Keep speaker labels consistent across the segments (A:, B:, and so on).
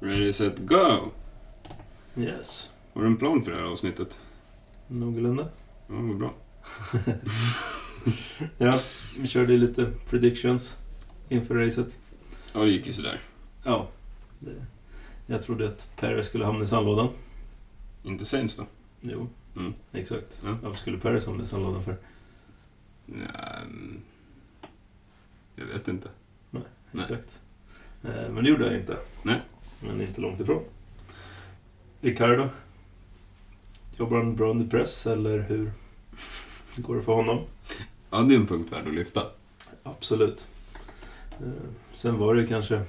A: Ready, set, go!
B: Yes.
A: Har du en plan för det här avsnittet?
B: Någorlunda.
A: Ja, vad bra.
B: Ja, vi körde ju lite predictions inför racet.
A: Ja, det gick ju sådär.
B: Ja. Det. Jag trodde att Perez skulle hamna i sandlådan.
A: Inte Saints då?
B: Jo,
A: Mm.
B: exakt.
A: Ja.
B: Varför skulle Perez hamna i sandlådan för?
A: Nej, mm, jag vet inte. Nej.
B: Exakt. Eh, Men det gjorde jag inte.
A: Nej.
B: Men inte långt ifrån. Ricardo. Jobbar han bra under press eller hur går det för honom?
A: Ja, det är en punkt värd att lyfta.
B: Absolut. Eh, Sen var det ju kanske...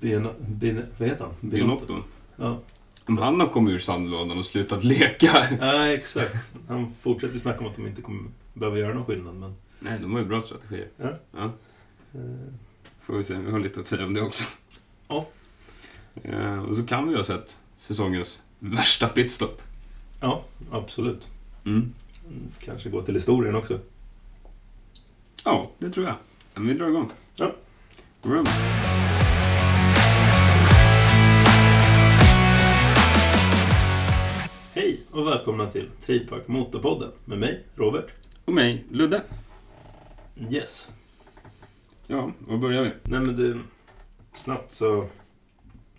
B: Bena, Bena, vad heter han?
A: Binotto.
B: Ja.
A: Om han har kommit ur sandlådan och slutat leka.
B: Nej, exakt. Han fortsätter ju snacka om att de inte kommer behöva göra någon skillnad, men...
A: Nej, de har ju bra strategier.
B: Ja.
A: Ja,
B: eh,
A: får vi se. Vi har lite att säga om det också.
B: Ja.
A: Eh, och så kan vi ju ha sett säsongens värsta pitstop.
B: Ja, absolut.
A: Mm.
B: Mm, Kanske gå till historien också.
A: Ja, det tror jag. Men vi drar igång.
B: Ja.
A: Room.
B: Hej och välkomna till Tripack Motorpodden med mig, Robert.
A: Och mig, Ludde.
B: Yes.
A: Ja, var börjar vi?
B: Nej, men det... Snabbt så...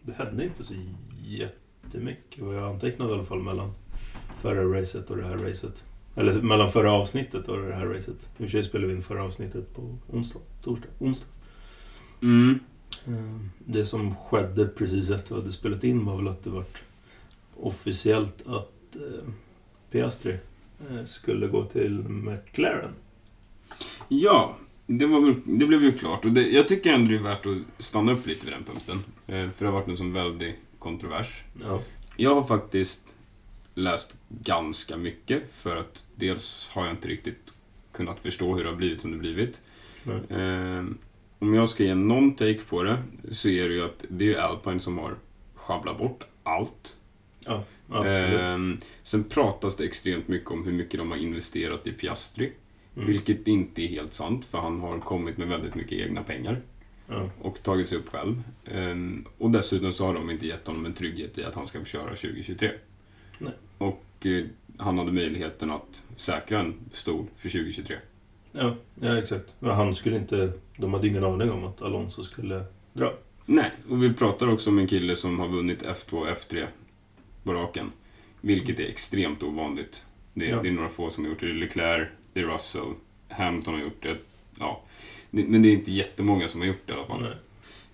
B: Det hände inte så jättemycket, vad jag antecknade i alla fall, mellan förra racet och det här racet. Eller mellan förra avsnittet och det här racet. I och för sig spelade vi in förra avsnittet på onsdag, torsdag, onsdag.
A: Mm.
B: Eh, Det som skedde precis efter vi hade spelat in var väl att det vart officiellt att eh, Piastri eh, skulle gå till McLaren.
A: Ja, det, var väl, det blev ju klart. Och det, jag tycker ändå det är värt att stanna upp lite vid den punkten. Eh, För det har varit en sån väldig kontrovers.
B: Ja.
A: Jag har faktiskt läst ganska mycket för att dels har jag inte riktigt kunnat förstå hur det har blivit som det blivit.
B: Nej.
A: Eh, om jag ska ge någon take på det så är det ju att det är ju Alpine som har sjabblat bort allt.
B: Ja, absolut.
A: Ehm, sen pratas det extremt mycket om hur mycket de har investerat i Piastri,
B: Mm.
A: vilket inte är helt sant för han har kommit med väldigt mycket egna pengar
B: Ja,
A: och tagit sig upp själv. Ehm, och dessutom så har de inte gett honom en trygghet i att han ska få köra 2023.
B: Nej.
A: Och eh, han hade möjligheten att säkra en stol för 2023.
B: ja, ja, exakt. Men han skulle inte... De hade ingen aning om att Alonso skulle...
A: Nej, och vi pratar också om en kille som har vunnit F2 och F3 på raken. Vilket är extremt ovanligt. Det är,
B: Ja.
A: det är några få som har gjort det. Det är Leclerc, det är Russell, Hamilton har gjort det. Ja. Det- Men det är inte jättemånga som har gjort det i alla fall.
B: Nej,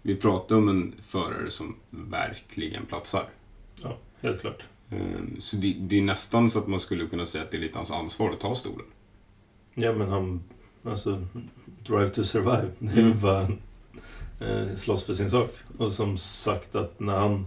A: Vi pratar om en förare som verkligen platsar.
B: helt klart.
A: Ehm, Så det, det är nästan så att man skulle kunna säga att det är lite hans ansvar att ta stolen.
B: Ja, men han... Alltså, Drive to Survive. Det är
A: Mm.
B: bara en, eh, slåss för sin sak. Och som sagt att när han...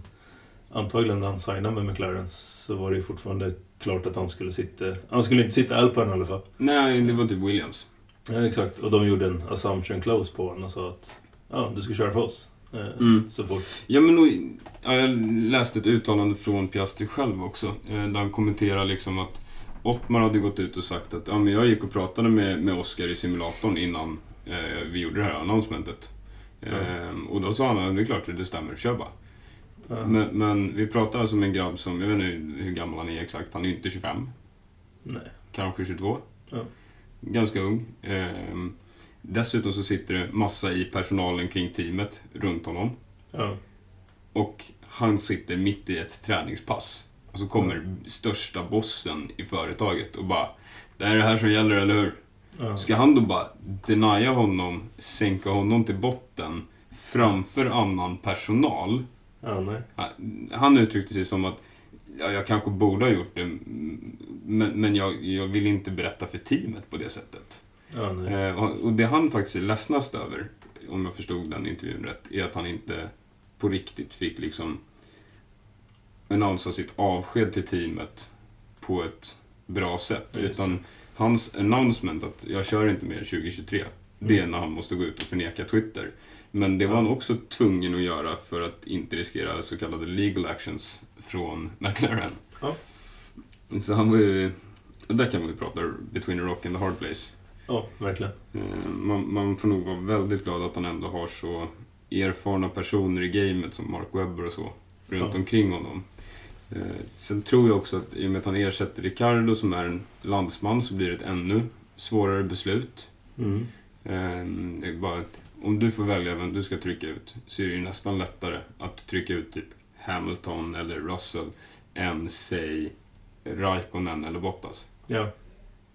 B: Antagligen när han signade med McLaren så var det ju fortfarande klart att han skulle sitta... Han skulle inte sitta i Alpine i alla fall.
A: Nej, det var typ Williams.
B: Ja, exakt. Och de gjorde en assumption close på honom och sa att... Ja, du ska köra för oss. Eh,
A: Mm.
B: Så fort.
A: Ja, men och, ja, jag läste ett uttalande från Piastri själv också, eh, där han kommenterar liksom att Ottmar hade gått ut och sagt att ja, men jag gick och pratade med, med Oscar i simulatorn innan eh, vi gjorde det här annonsmentet. Eh, och då sa han att det är klart, det stämmer, kör bara.
B: Ja.
A: Men, men vi pratar alltså med en grabb som, jag vet inte hur, hur gammal han är exakt, han är ju inte 25
B: Nej.
A: kanske 22.
B: Ja.
A: Ganska ung. Ehm, dessutom så sitter det massa i personalen kring teamet runt honom.
B: Ja.
A: Och han sitter mitt i ett träningspass. Och så kommer största bossen i företaget och bara Det här är det här som gäller, eller hur?
B: Ja.
A: Ska han då bara denia honom, sänka honom till botten framför annan personal?
B: ja, nej.
A: Han uttryckte sig som att ja, jag kanske borde ha gjort det, mm, men, men jag, jag vill inte berätta för teamet på det sättet.
B: Ja, nej.
A: Eh, och det han faktiskt är ledsnast över, om jag förstod den intervjun rätt, är att han inte på riktigt fick liksom annonsa sitt avsked till teamet på ett bra sätt.
B: Ja, just
A: utan hans announcement att jag kör inte mer 2023, det är
B: Mm.
A: när han måste gå ut och förneka Twitter. Men det var han också tvungen att göra för att inte riskera så kallade legal actions från McLaren.
B: Ja.
A: Så han var ju... och Där kan man ju prata between a rock and a hard place.
B: Ja, verkligen.
A: Eh, Man, man får nog vara väldigt glad att han ändå har så erfarna personer i gamet som Mark Webber och så runt
B: Ja.
A: omkring honom. Eh, Sen tror jag också att i och med att han ersätter Ricardo som är en landsman så blir det ett ännu svårare beslut.
B: Mm.
A: Eh, det är bara, att om du får välja vem du ska trycka ut så är det ju nästan lättare att trycka ut typ Hamilton eller Russell än säg Raikkonen eller Bottas.
B: Ja.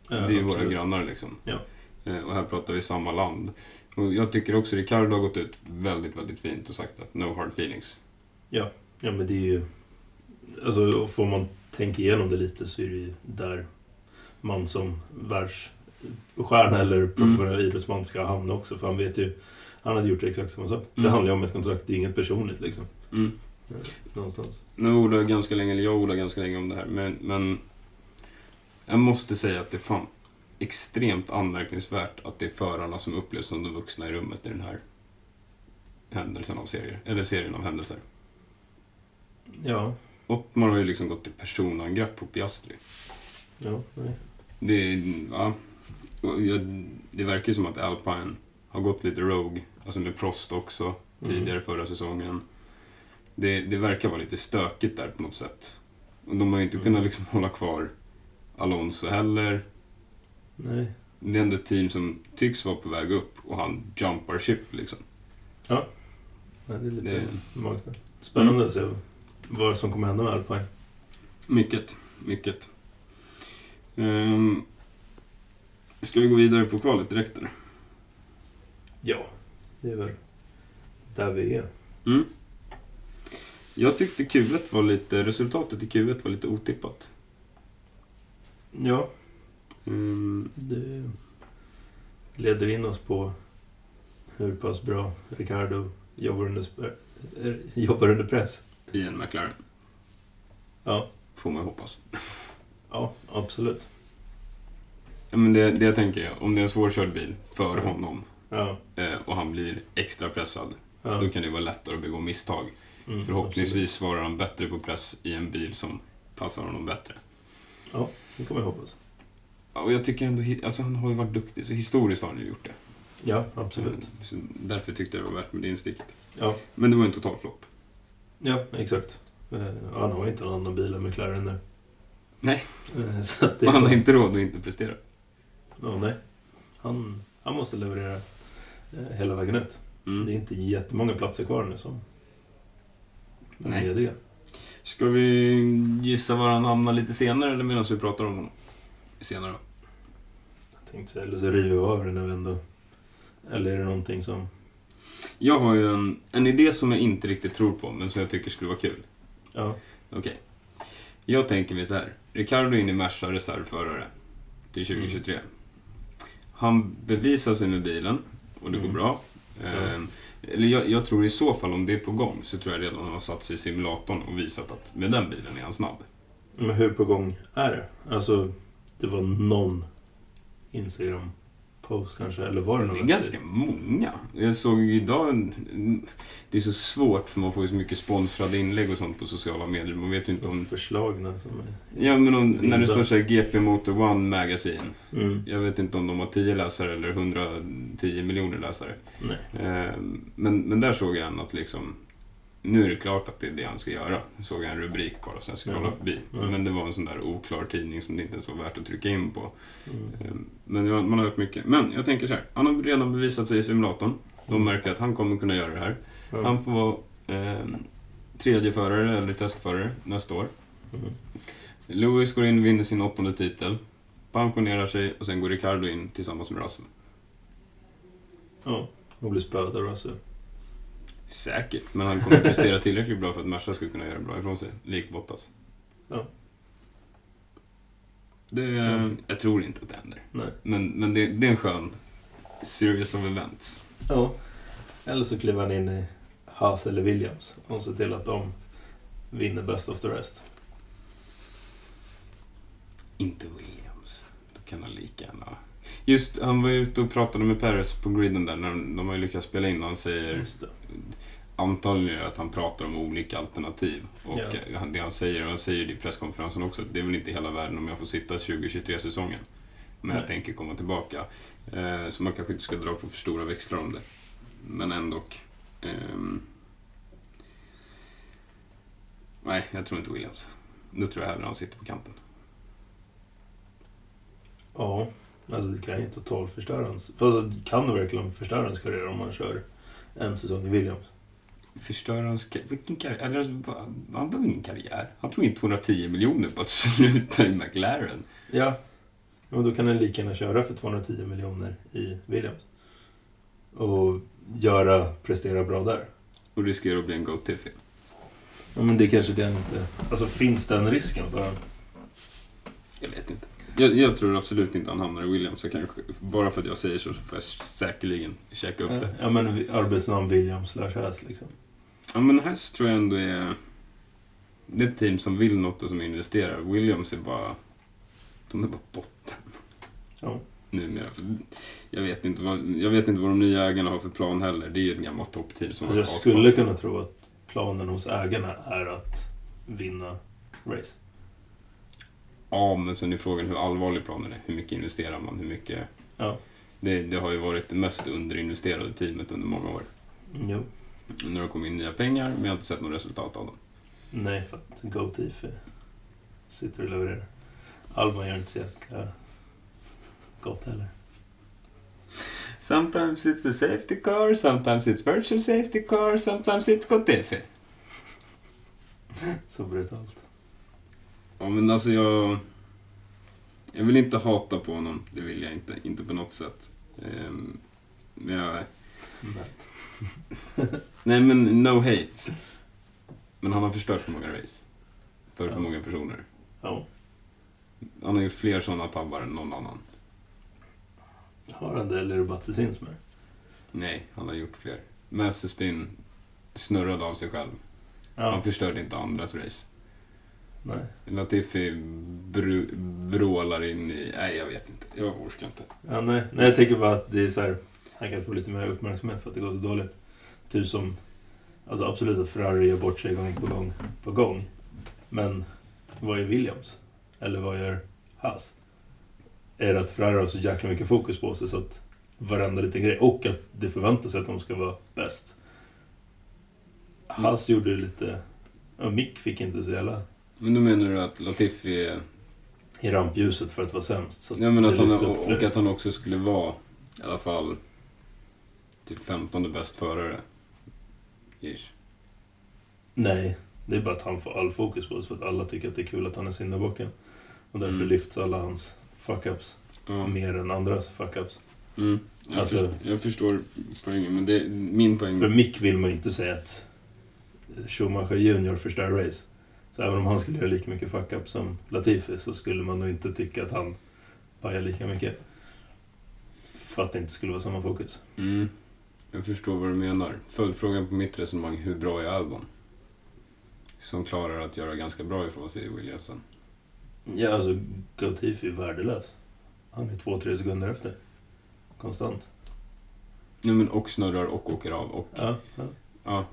A: Det är ju våra grannar liksom.
B: Ja.
A: Eh, Och här pratar vi samma land. Och jag tycker också Ricardo har gått ut väldigt, väldigt fint och sagt att no hard feelings.
B: Ja, men det är ju... Alltså, får man tänka igenom det lite så är det ju där man som världsstjärna eller professionell idrottsman ska hamna också. För han vet ju... Han hade gjort exakt samma sak. Det
A: Mm.
B: handlar ju om ett kontrakt, det är inget personligt liksom.
A: Mm.
B: Någonstans.
A: Nu ordar jag ganska länge, eller jag ordar ganska länge om det här, men, men jag måste säga att det är fan extremt anmärkningsvärt att det är förarna som upplevs som de vuxna i rummet i den här händelsen av serier, eller serien av händelser.
B: Ja,
A: Ottmar har ju liksom gått till personangrepp på Piastri.
B: ja, nej.
A: Det, är- ja, Och jag, det verkar ju som att Alpine har gått lite rogue, alltså med Prost också,
B: Mm.
A: tidigare förra säsongen. Det, det verkar vara lite stökigt där på något sätt. Och de har ju inte
B: Mm.
A: kunnat liksom hålla kvar Alonso heller.
B: Mm. Nej.
A: Det är ändå ett team som tycks vara på väg upp och han jumpar ship liksom.
B: nej, det är lite
A: Det är
B: magstarkt. Spännande att se vad som kommer hända med Alpine.
A: mycket, mycket. Um, ska vi gå vidare på kvalet direkt eller?
B: Ja, det är väl där vi är.
A: Mm. Jag tyckte Q1 var lite, resultatet i Q1 var lite otippat.
B: Ja,
A: Mm,
B: det leder in oss på hur pass bra Ricardo jobbar under, sp- eh, jobbar under press.
A: I en McLaren.
B: Ja.
A: Får man hoppas.
B: Ja, absolut.
A: Ja, men det, det tänker jag, om det är en svårkörd bil för
B: Mm.
A: honom
B: Ja,
A: eh, och han blir extra pressad,
B: ja.
A: då kan det vara lättare att begå misstag.
B: Mm,
A: Förhoppningsvis svarar han bättre på press i en bil som passar honom bättre.
B: absolut. Det kan man hoppas.
A: Ja, Och jag tycker ändå, hi- alltså han har ju varit duktig, så historiskt har han ju gjort det.
B: Ja, absolut.
A: Eh, Så därför tyckte jag det var värt med det insticket.
B: Ja,
A: Men det var ju en total flopp.
B: ja exakt. Eh, Han har ju inte en annan bil än McLaren nu.
A: Nej.
B: Eh, Så att det
A: Han har inte råd att inte prestera. Mm.
B: Ja, nej. Han, han måste leverera eh, hela vägen ut.
A: Mm.
B: Det är inte jättemånga platser kvar nu som är
A: Nej.
B: lediga.
A: Ska vi gissa var han hamnar lite senare eller medan vi pratar om honom? Senare.
B: Jag tänkte säga, eller så river vi av den här vändan. Eller är det någonting som...
A: Jag har ju en, en idé som jag inte riktigt tror på, men som jag tycker skulle vara kul.
B: Ja.
A: Okej. Jag tänker mig så här. Ricardo är in i Merca reservförare till
B: Mm.
A: 2023. Han bevisar sig med bilen och det går
B: Mm.
A: bra. Ehm, eller jag, jag tror i så fall, om det är på gång, så tror jag redan han har satt sig i simulatorn och visat att med den bilen är han snabb.
B: Men hur på gång är det? Alltså, det var någon Instagram-post kanske, eller var det någon?
A: Det är ganska många. Jag såg idag... en- Det är så svårt för man får ju så mycket sponsrade inlägg och sånt på sociala medier. Man vet ju inte om...
B: typ förslagna som är...
A: Ja, men om, när det står så här GP Motor One Magazine.
B: Mm.
A: Jag vet inte om de har 10 läsare eller 110 miljoner läsare.
B: Nej.
A: Eh, Men, men där såg jag en att liksom... Nu är det klart att det är det han ska göra. Såg jag en rubrik bara så jag scrollade
B: Mm.
A: förbi.
B: Mm.
A: Men det var en sån där oklar tidning som det inte ens var värt att trycka in på.
B: Mm.
A: Eh, Men jag- man har hört mycket. Men jag tänker så här. Han har redan bevisat sig i simulatorn. De märker att han kommer kunna göra det här.
B: Ja.
A: Han får vara eh, tredje förare eller testförare nästa år.
B: Mm.
A: Lewis går in och vinner sin åttonde titel. Pensionerar sig och sen går Ricardo in tillsammans med Russell.
B: Ja. Och blir spöad av Russell.
A: Säkert, men han kommer prestera tillräckligt bra för att Merca ska kunna göra bra ifrån sig. Likt Bottas.
B: Ja.
A: Det,
B: Kanske.
A: jag tror inte att det händer.
B: Nej.
A: Men, men det, det är en skön series of events.
B: Ja. Eller så kliver han in i Haas eller Williams och ser till att de vinner Best of the Rest.
A: Inte Williams. Då kan han lika gärna... Just, han var ute och pratade med Perez på griden där, när de, de har ju lyckats spela in och han säger
B: Just det.
A: antagligen att han pratar om olika alternativ. Och
B: Ja.
A: eh, han- det han säger, och han säger det i presskonferensen också, att det är väl inte hela världen om jag får sitta 2023-säsongen. Men jag
B: Nej.
A: tänker komma tillbaka. Eh, så man kanske inte ska dra på för stora växlar om det. Men ändå. Ehm. nej, jag tror inte Williams. Nu tror jag hellre han sitter på kanten.
B: Ja, alltså det kan ju totalförstöra hans... Fast det kan verkligen förstöra hans karriär om man kör en säsong i Williams.
A: Förstör hans karriär? Vilken karriär? Eller, va- han behöver ingen karriär. Han tror in 210 miljoner på att sluta i McLaren.
B: Ja. ja, men då kan han lika gärna köra för 210 miljoner i Williams. Och göra, prestera bra där.
A: Och riskerar att bli en go-tiffin.
B: Ja, men det är kanske det han inte... Alltså finns den risken för honom?
A: Jag vet inte. Jag, jag tror absolut inte han hamnar i Williams. Jag kanske, bara för att jag säger så, så får jag säkerligen checka upp det.
B: Ja, men vi- arbetsnamn Williams slash Häs liksom.
A: Ja, men Hess tror jag ändå är... Det är ett team som vill något och som investerar. Williams är bara... De är bara botten.
B: Ja.
A: Numera. För Jag vet, inte vad, jag vet inte vad de nya ägarna har för plan heller. Det är ju ett gammalt toppteam Typ som
B: Alltså, jag
A: har
B: skulle kunna tro att planen hos ägarna är att vinna race.
A: Ja, men sen är frågan hur allvarlig planen är. Hur mycket investerar man? Hur mycket...
B: Ja.
A: Det, det har ju varit det mest underinvesterade teamet under många år.
B: Jo.
A: Nu har det kommit in nya pengar, men jag har inte sett något resultat av dem.
B: Nej, för att GoTif sitter och levererar. Alma gör inte så jäkla gott heller.
A: Sometimes it's a safety car, sometimes it's virtual safety car, sometimes it's Cotefe.
B: Så brutalt.
A: Ja, men alltså jag... Jag vill inte hata på honom, det vill jag inte. Inte på något sätt. Ehm, Men jag... Nej, men no hate. Men han har förstört för många race. För för
B: Ja.
A: många personer.
B: Ja.
A: Han har gjort fler sådana tabbar än någon annan.
B: Har han det eller är det bara att det syns mer?
A: Nej, han har gjort fler. Masterspin snurrade av sig själv. Han
B: Ja.
A: förstörde inte andras race.
B: Nej.
A: Latifi bru- vrålar in i... Nej, jag vet inte. Jag orkar inte.
B: Ja, nej. nej, jag tänker bara att det är så här. Han kan få lite mer uppmärksamhet för att det går så dåligt. Typ som, alltså absolut att Ferrari gör bort sig gång på gång på gång. Men vad gör Williams? Eller vad gör Haas? Är det att Ferrari har så jäkla mycket fokus på sig så att varenda liten grej och att det förväntas att de ska vara bäst. Haas gjorde lite, ja, Mick fick inte så jävla
A: Men då menar du att Latifi är...
B: i rampljuset för att vara sämst. Så
A: Ja, men
B: det
A: att han,
B: lyfts upp
A: och
B: nu.
A: och att han också skulle vara i alla fall typ 15 bäst förare. Ish.
B: Nej, det är bara att han får all fokus på oss för att alla tycker att det är kul att han är syndabocken. Och därför
A: Mm.
B: lyfts alla hans fuck-ups
A: Ja.
B: mer än andras fuck-ups.
A: Mm. Jag,
B: Alltså-
A: förstår, jag förstår poängen, men det, min poäng...
B: För Mick vill man ju inte säga att Schumacher junior förstör race. Så även om han skulle göra lika mycket fuck-up som Latifi så skulle man nog inte tycka att han pajar lika mycket. För att det inte skulle vara samma fokus.
A: Mm. Jag förstår vad du menar. Följdfrågan på mitt resonemang, hur bra är Albon? Som klarar att göra ganska bra ifrån sig i Williamsen.
B: Ja, alltså Latifi är värdelös. Han är två, tre sekunder efter. Konstant.
A: Ja, men och snurrar och åker av. Och,
B: Ja, ja.
A: ja.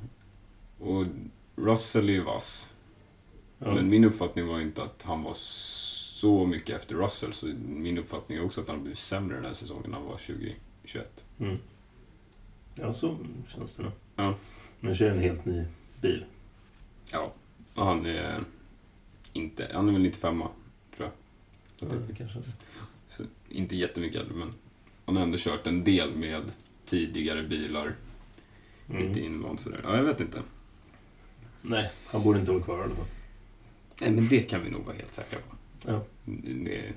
A: och Russell är ju vass.
B: ja.
A: Men min uppfattning var inte att han var så mycket efter Russell, så min uppfattning är också att han har blivit sämre den här säsongen än han var 2021.
B: Mm. Ja, så känns det nog.
A: Ja.
B: Nu kör jag en helt ny bil.
A: Ja. Och han är inte, han är väl 95 tror jag. Mm.
B: Ja, kanske.
A: Så inte jättemycket äldre, men han har ändå kört en del med tidigare bilar, lite
B: Mm.
A: invand sådär. Ja, jag vet inte.
B: Nej, han borde inte vara kvar i alla fall.
A: Nej, men det kan vi nog vara helt säkra på.
B: Ja.
A: Det,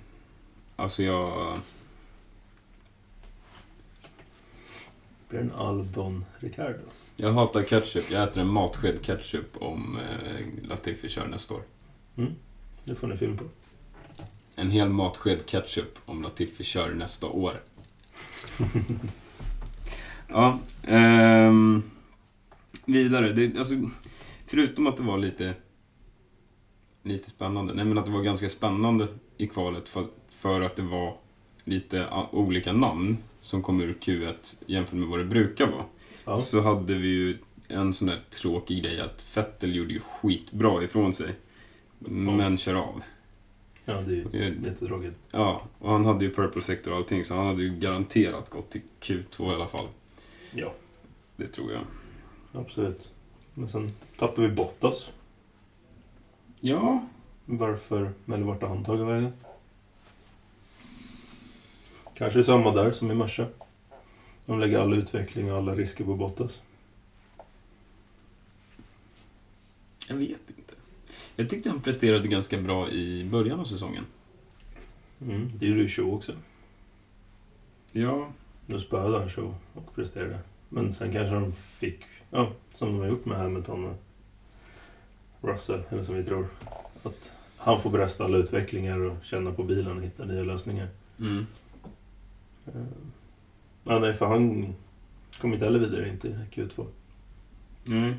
A: alltså jag...
B: Blir det en Albon Ricardo?
A: Jag hatar ketchup. Jag äter en matsked ketchup om eh, Latifi kör nästa år.
B: Det får ni film på.
A: En hel matsked ketchup om Latifi kör nästa år. ja, ehm, vidare. Det, alltså, förutom att det var lite, lite spännande. Nej, men att det var ganska spännande i kvalet för, för att det var lite a- olika namn som kom ur Q1 jämfört med vad det brukar vara.
B: Ja.
A: Så hade vi ju en sån där tråkig grej att Vettel gjorde ju skitbra ifrån sig. Men kör av.
B: ja, det är ju
A: Eh,
B: jättetråkigt.
A: Ja, och han hade ju purple sector och allting, så han hade ju garanterat gått till Q2 i alla fall.
B: Ja.
A: Det tror jag.
B: absolut. Men sen tappade vi Bottas.
A: Ja,
B: Varför? Eller vart har han tagit vägen? Kanske samma där som i Merca. De lägger all utveckling och alla risker på Bottas.
A: jag vet inte. Jag tyckte han presterade ganska bra i början av säsongen.
B: Mm. Det gjorde ju Show också.
A: Ja,
B: Nu spöade han Show och presterade. Men sen kanske de fick, ja, som de har gjort med Hamilton och Russell, eller som vi tror, att han får brösta alla utvecklingar och känna på bilen och hitta nya lösningar.
A: mm.
B: Eh, Ja, nej, för han kom inte heller vidare inte i Q2.
A: nej.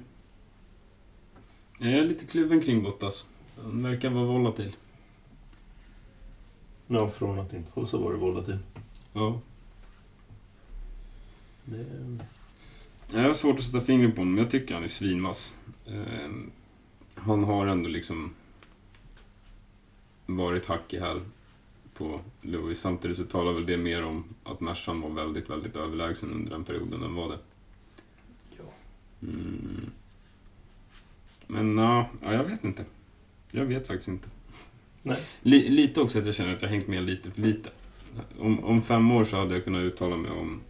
A: Jag är lite kluven kring Bottas. Han verkar vara volatil.
B: Ja, från att inte hålla så var det volatil.
A: Ja.
B: Det,
A: Jag har svårt att sätta fingret på honom, men jag tycker han är svinvass. Eh, han har ändå liksom varit hack i häl på Lewis. Samtidigt så talar väl det mer om att Mercan var väldigt, väldigt överlägsen under den perioden den var det.
B: ja.
A: Mm. Men ja, ja, jag vet inte. Jag vet faktiskt inte.
B: Nej.
A: Li- lite också att jag känner att jag har hängt med lite för lite. Om, om fem år så hade jag kunnat uttala mig om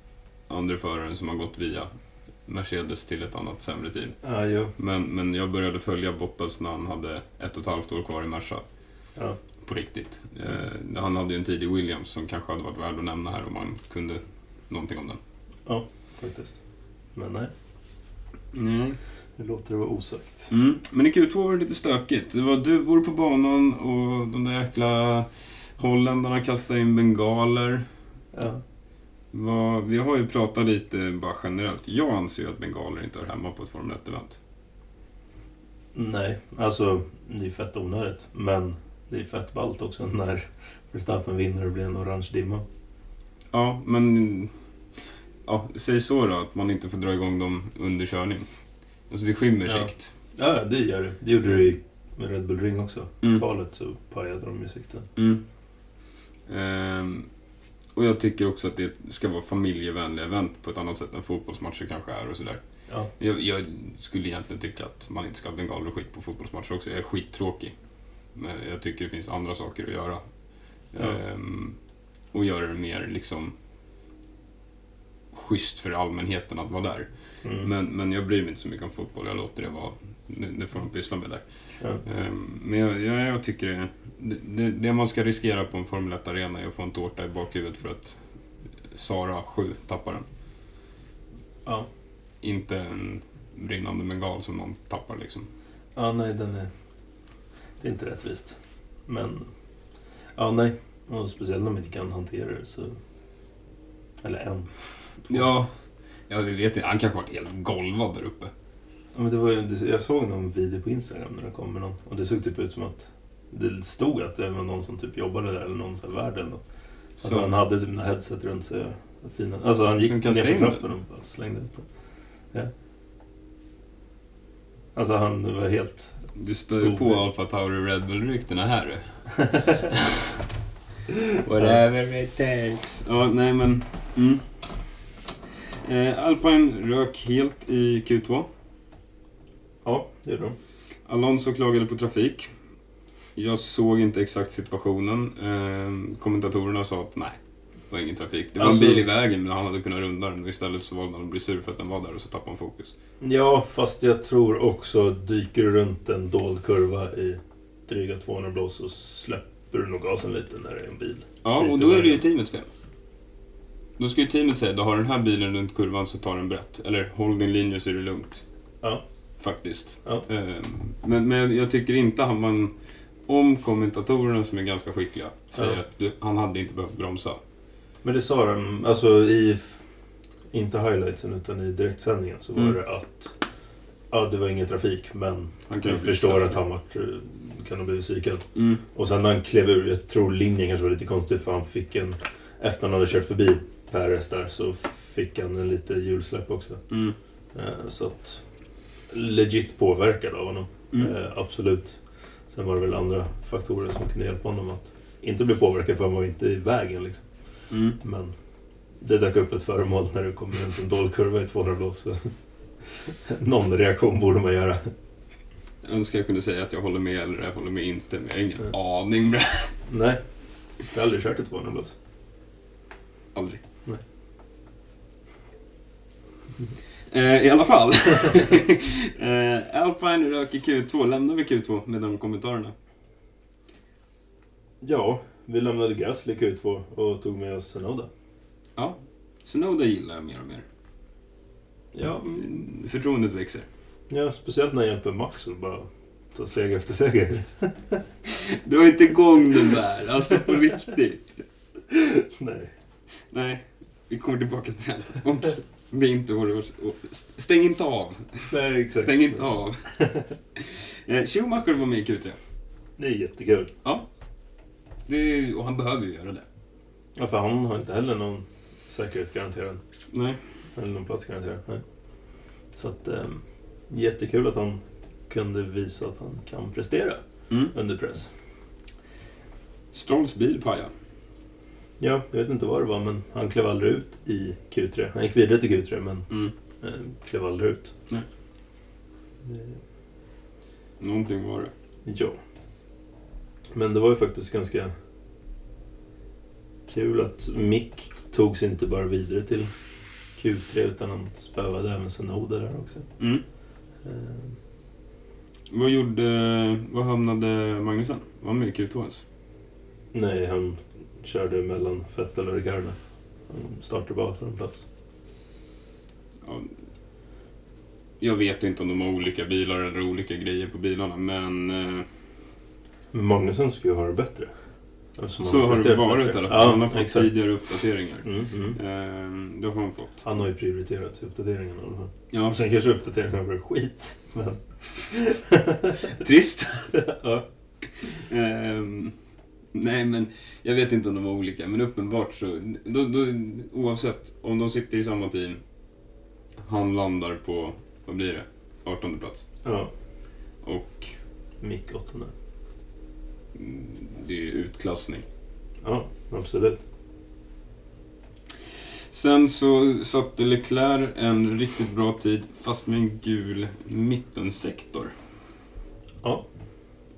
A: andra förare som har gått via Mercedes till ett annat sämre team.
B: Ja, jo.
A: Men, men jag började följa Bottas när han hade ett och ett halvt år kvar i Merca.
B: Ja.
A: På riktigt. Eh, han hade ju en tidig Williams som kanske hade varit värd att nämna här om man kunde någonting om den.
B: Faktiskt. Men nej,
A: Nej.
B: nu låter det vara osagt.
A: Mm. Men i Q2 var det lite stökigt. Det var duvor på banan och de där jäkla holländarna kastade in bengaler.
B: Ja.
A: Vad, vi har ju pratat lite bara generellt. Jag anser ju att bengaler inte hör hemma på ett Formel 1-event.
B: Nej, alltså det är fett onödigt. Men det är fett ballt också när Verstappen vinner och det blir en orange dimma.
A: Ja, men... Ja, säg så då, att man inte får dra igång dem under körning. Alltså det skymmer
B: Ja.
A: sikt.
B: Ja, det gör det. Det gjorde det ju med Red Bull Ring också.
A: Mm.
B: Kvalet så pajade de ju sikten.
A: Mm. Ehm, och jag tycker också att det ska vara familjevänliga event på ett annat sätt än fotbollsmatcher kanske är och sådär.
B: Ja.
A: Jag, jag skulle egentligen tycka att man inte ska ha bengaler och skit på fotbollsmatcher också. Jag är skittråkig. Men jag tycker det finns andra saker att göra.
B: Ja.
A: Ehm, och göra det mer liksom schysst för allmänheten att vara där.
B: Mm.
A: Men, men jag bryr mig inte så mycket om fotboll. Jag låter det vara. Det, det får de pyssla med där.
B: Ja.
A: Ehm, Men jag, jag, jag tycker det, det, det man ska riskera på en Formel 1-arena är att få en tårta i bakhuvudet för att Sara 7 tappar den.
B: Ja.
A: Inte en brinnande bengal som någon tappar liksom.
B: ja, nej den är... Det är inte rättvist. Men... Ja, nej. Och speciellt när man inte kan hantera det så... Eller en. Två.
A: Ja, ja vi vet inte. Han kanske varit helt golvad där uppe.
B: Ja, Men det var ju, det- jag såg någon video på Instagram när det kom med någon och det såg typ ut som att det stod att det var någon som typ jobbade där eller någon som var värd eller något. Att han
A: Så,
B: hade typ några headset runt sig. och Fina. Alltså han gick
A: Som
B: ner
A: kastade
B: för
A: in
B: trappen och bara slängde ut den. Ja. Alltså han var helt...
A: du spöar ju på Alfa Tauri Red Bull-ryktena här du. Whatever it takes. Ja, nej men... Mm. Eh, Alpine rök helt i Q2.
B: Ja, det gjorde de.
A: Alonso klagade på trafik. Jag såg inte exakt situationen. Eh, kommentatorerna sa att nej, det var ingen trafik. Det var
B: Alltså-
A: en bil i vägen, men han hade kunnat runda den. Och istället så valde han att bli sur för att den var där och så tappade han fokus.
B: Ja, fast jag tror också dyker du runt en dold kurva i dryga 200 blås så släpper du nog gasen lite när det är en bil.
A: Ja,
B: Typ
A: och då är det ju
B: vägen.
A: teamets fel. Då ska ju teamet säga, du har den här bilen runt kurvan så tar den brett. Eller håll din linje så är det lugnt.
B: Ja.
A: Faktiskt.
B: Ja.
A: Eh, Men, men jag tycker inte att man... Om kommentatorerna som är ganska skickliga säger
B: Ja.
A: att du, han hade inte behövt bromsa.
B: Men det sa de, alltså i, inte highlightsen utan i direktsändningen så var
A: Mm.
B: det att ja, det var ingen trafik men
A: Han kan
B: jag
A: ju bli
B: förstår
A: störd.
B: att han vart, eh, kan ha blivit psykad.
A: Mm.
B: Och sen när han klev ur, jag tror linjen kanske var lite konstig för han fick en, efter han hade kört förbi Perez där så fick han en lite hjulsläpp också.
A: Mm.
B: Eh, Så att legit påverkad av honom,
A: Mm.
B: eh, absolut. Sen var det väl andra faktorer som kunde hjälpa honom att inte bli påverkad för han var ju inte i vägen liksom.
A: Mm.
B: Men det dök upp ett föremål när du kommer runt en dold kurva i 200 blås. så- Någon reaktion borde man göra.
A: Jag önskar jag kunde säga att jag håller med eller jag håller med inte, men jag har ingen
B: Mm.
A: aning. Bra.
B: Nej. Jag har aldrig kört ett 200 blås.
A: Aldrig.
B: Nej.
A: Eh, I alla fall. eh, Alpine röker Q2. Lämnar vi Q2 med de kommentarerna?
B: Ja, vi lämnade Gasly Q2 och tog med oss Sonoda.
A: Ja. Snowda gillar jag mer och mer.
B: Ja,
A: Mm, Förtroendet växer.
B: ja speciellt när jag hjälper Max att bara ta seger efter seger.
A: Du har inte igång den där, alltså på riktigt.
B: Nej.
A: Nej, vi kommer tillbaka till den. Och det är inte vad det var. Stäng inte av.
B: Nej, exakt.
A: Stäng inte av. Eh, Schumacher var med i Q3.
B: Det är jättekul.
A: Det är, och han behöver ju göra det.
B: Ja, för han har inte heller någon säkerhet garanterad.
A: Nej.
B: Eller någon plats garanterad. Nej. Så att, ehm, jättekul att han kunde visa att han kan prestera
A: Mm.
B: under press.
A: Strolls bil pajade.
B: Ja, jag vet inte vad det var, men han klev aldrig ut i Q3. Han gick vidare till Q3, men
A: Mm.
B: eh, klev aldrig ut.
A: Nej.
B: Eh,
A: Någonting var det.
B: Ja. Men det var ju faktiskt ganska kul att Mick tog sig inte bara vidare till Q3 utan han spöade även Sanoda där också.
A: Mm.
B: Eh,
A: Vad gjorde... Vad hamnade Magnusen? Var han med i Q2 ens?
B: nej, han körde mellan Vettel och Ricardo. Han startade bara på en plats.
A: Ja. Jag vet inte om de har olika bilar eller olika grejer på bilarna, men... Eh,
B: Men Magnusen skulle ju ha det bättre. Eftersom
A: så har det
B: presterat
A: varit i
B: bättre.
A: alla fall.
B: Ja,
A: Han har fått
B: exakt.
A: tidigare uppdateringar.
B: Mm, mm.
A: Eh, det har han fått.
B: Han har ju prioriterat uppdateringen i alla fall.
A: Ja,
B: Och sen kanske uppdateringen var skit. Men...
A: trist.
B: ja.
A: Ehm, nej, men jag vet inte om de var olika, men uppenbart så... Då, då, oavsett, om de sitter i samma team, han landar på, vad blir det, 18 plats.
B: ja.
A: Och
B: Mick åttonde.
A: mm, det är ju utklassning.
B: Ja, absolut.
A: Sen så satte Leclerc en riktigt bra tid, fast med en gul mittensektor.
B: Ja.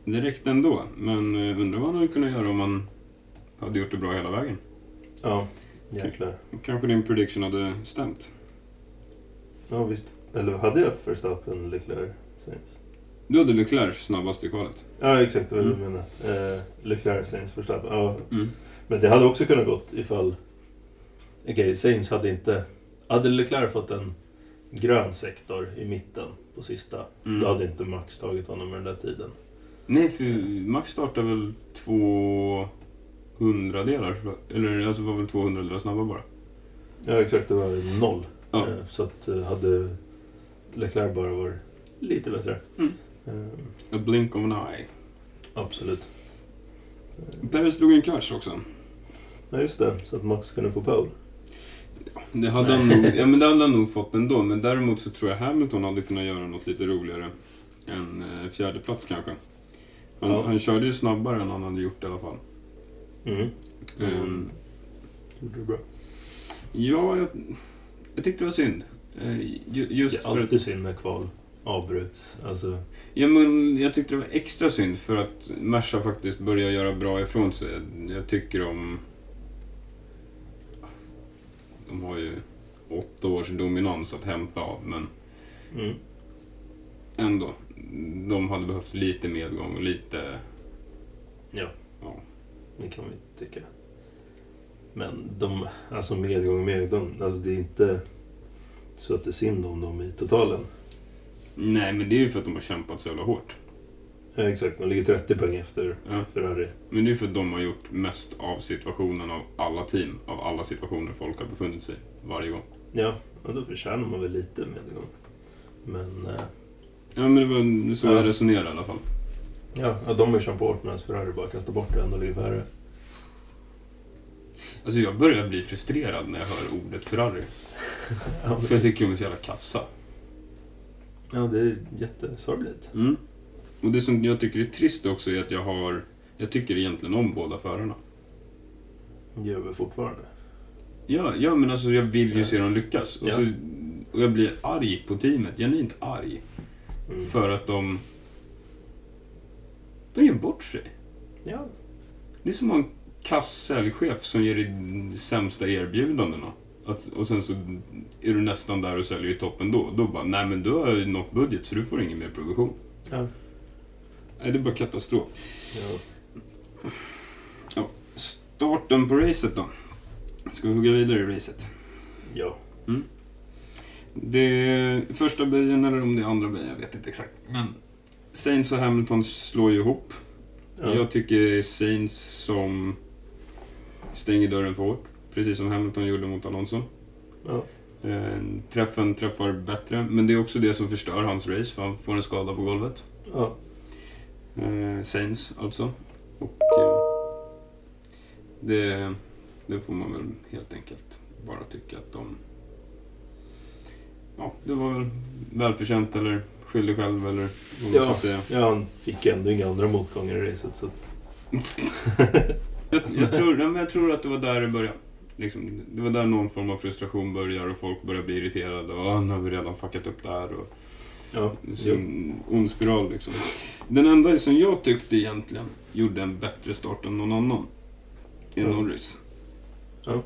A: Det räckte ändå, men eh, undrar vad han hade kunnat göra om han hade gjort det bra hela vägen.
B: Ja, jäklar.
A: Kanske din prediction hade stämt.
B: Ja, visst. Eller hade jag Verstappen, Leclerc, Saints?
A: Du hade Leclerc snabbast i kvalet.
B: Ja, exakt. Det var det du
A: Mm.
B: menade. Eh, Leclerc, Saints, Verstappen. Ja.
A: Mm.
B: Men det hade också kunnat gått ifall... Okej, Saints hade inte... Hade Leclerc fått en grön sektor i mitten på sista,
A: Mm.
B: då hade inte Max tagit honom med den där tiden.
A: Nej, för Max startar väl två hundradelar? Eller alltså var väl två hundradelar snabbare bara?
B: Ja, exakt. Det var noll.
A: Ja.
B: Eh, Så att eh, hade Leclerc bara varit lite bättre.
A: Mm.
B: Eh,
A: A blink of an eye.
B: Absolut. Eh,
A: Perez drog en klatsch också.
B: Ja, just det. Så att Max kunde få pole.
A: Det hade, han nog, ja, men det hade han nog fått ändå, men däremot så tror jag Hamilton hade kunnat göra något lite roligare. En eh, fjärde plats kanske. Han,
B: Ja.
A: han körde ju snabbare än han hade gjort i alla fall.
B: Mm.
A: Ehm,
B: Mm. Gjorde det bra.
A: ja, jag, jag tyckte det var synd. Eh, ju,
B: Just
A: just
B: det är
A: för att
B: alltid synd när kval avbryts. Alltså,
A: Ja, men jag tyckte det var extra synd för att Merca faktiskt börjar göra bra ifrån sig. Jag- Jag tycker om... De har ju åtta års dominans att hämta av, men
B: mm.
A: ändå. De hade behövt lite medgång och lite...
B: det kan vi tycka. Men de, alltså medgång och medgång, alltså det är inte så att det är synd om dem i totalen.
A: Nej, men det är ju för att de har kämpat så jävla hårt.
B: Ja, exakt, man ligger 30 poäng efter
A: Ja.
B: Ferrari.
A: Men det är ju för att de har gjort mest av situationen av alla team, av alla situationer folk har befunnit sig i varje gång.
B: Ja, och då förtjänar man väl lite medgång. Men eh,
A: Ja, men det var så jag
B: Ja.
A: resonerade i alla fall.
B: ja, ja, de har ju kämpat hårt medan Ferrari bara kastar bort det och ändå ligger Ferrari.
A: Alltså, jag börjar bli frustrerad när jag hör ordet Ferrari.
B: Ja,
A: För jag tycker de är så jävla kassa.
B: Ja, det är jättesorgligt.
A: Mm. Och det som jag tycker är trist också är att jag har... Jag tycker egentligen om båda förarna.
B: Det gör vi fortfarande.
A: Ja, ja men alltså jag vill ju
B: Ja.
A: se dem lyckas. Och
B: Ja.
A: så Och jag blir arg på teamet, genuint arg.
B: Mm.
A: För att de... De gör bort sig.
B: Ja.
A: Det är som att ha en kass säljchef som ger dig de sämsta erbjudandena. Att, och sen så är du nästan där och säljer i toppen då. Då bara, nej men du har ju nått budget så du får ingen mer provision.
B: Ja.
A: Nej, det är bara katastrof.
B: ja.
A: Starten på racet då. Ska vi hugga vidare i racet?
B: ja.
A: Det är första böjen eller om det är andra böjen, jag vet inte exakt. Men Saints och Hamilton slår ju ihop.
B: ja.
A: Jag tycker det är Saints som stänger dörren för hårt. Precis som Hamilton gjorde mot Alonso.
B: Ja.
A: Eh, träffen träffar bättre, men det är också det som förstör hans race, för han får en skada på golvet.
B: ja.
A: Eh, Saints alltså. Och eh, det, det får man väl helt enkelt bara tycka att de... Ja, det var väl välförtjänt eller skyldig själv eller vad man
B: Ja.
A: ska säga.
B: Ja, han fick ju ändå inga andra motgångar i racet. Så... att-
A: Jag, jag, tror, nej, men jag tror att det var där det började. Liksom, det var där någon form av frustration börjar och folk börjar bli irriterade. Och, "Ah, nu har vi redan fuckat upp det här. Och,
B: Ja.
A: Så en ond spiral liksom. Den enda som jag tyckte egentligen gjorde en bättre start än någon annan är
B: Ja.
A: Norris.
B: Ja.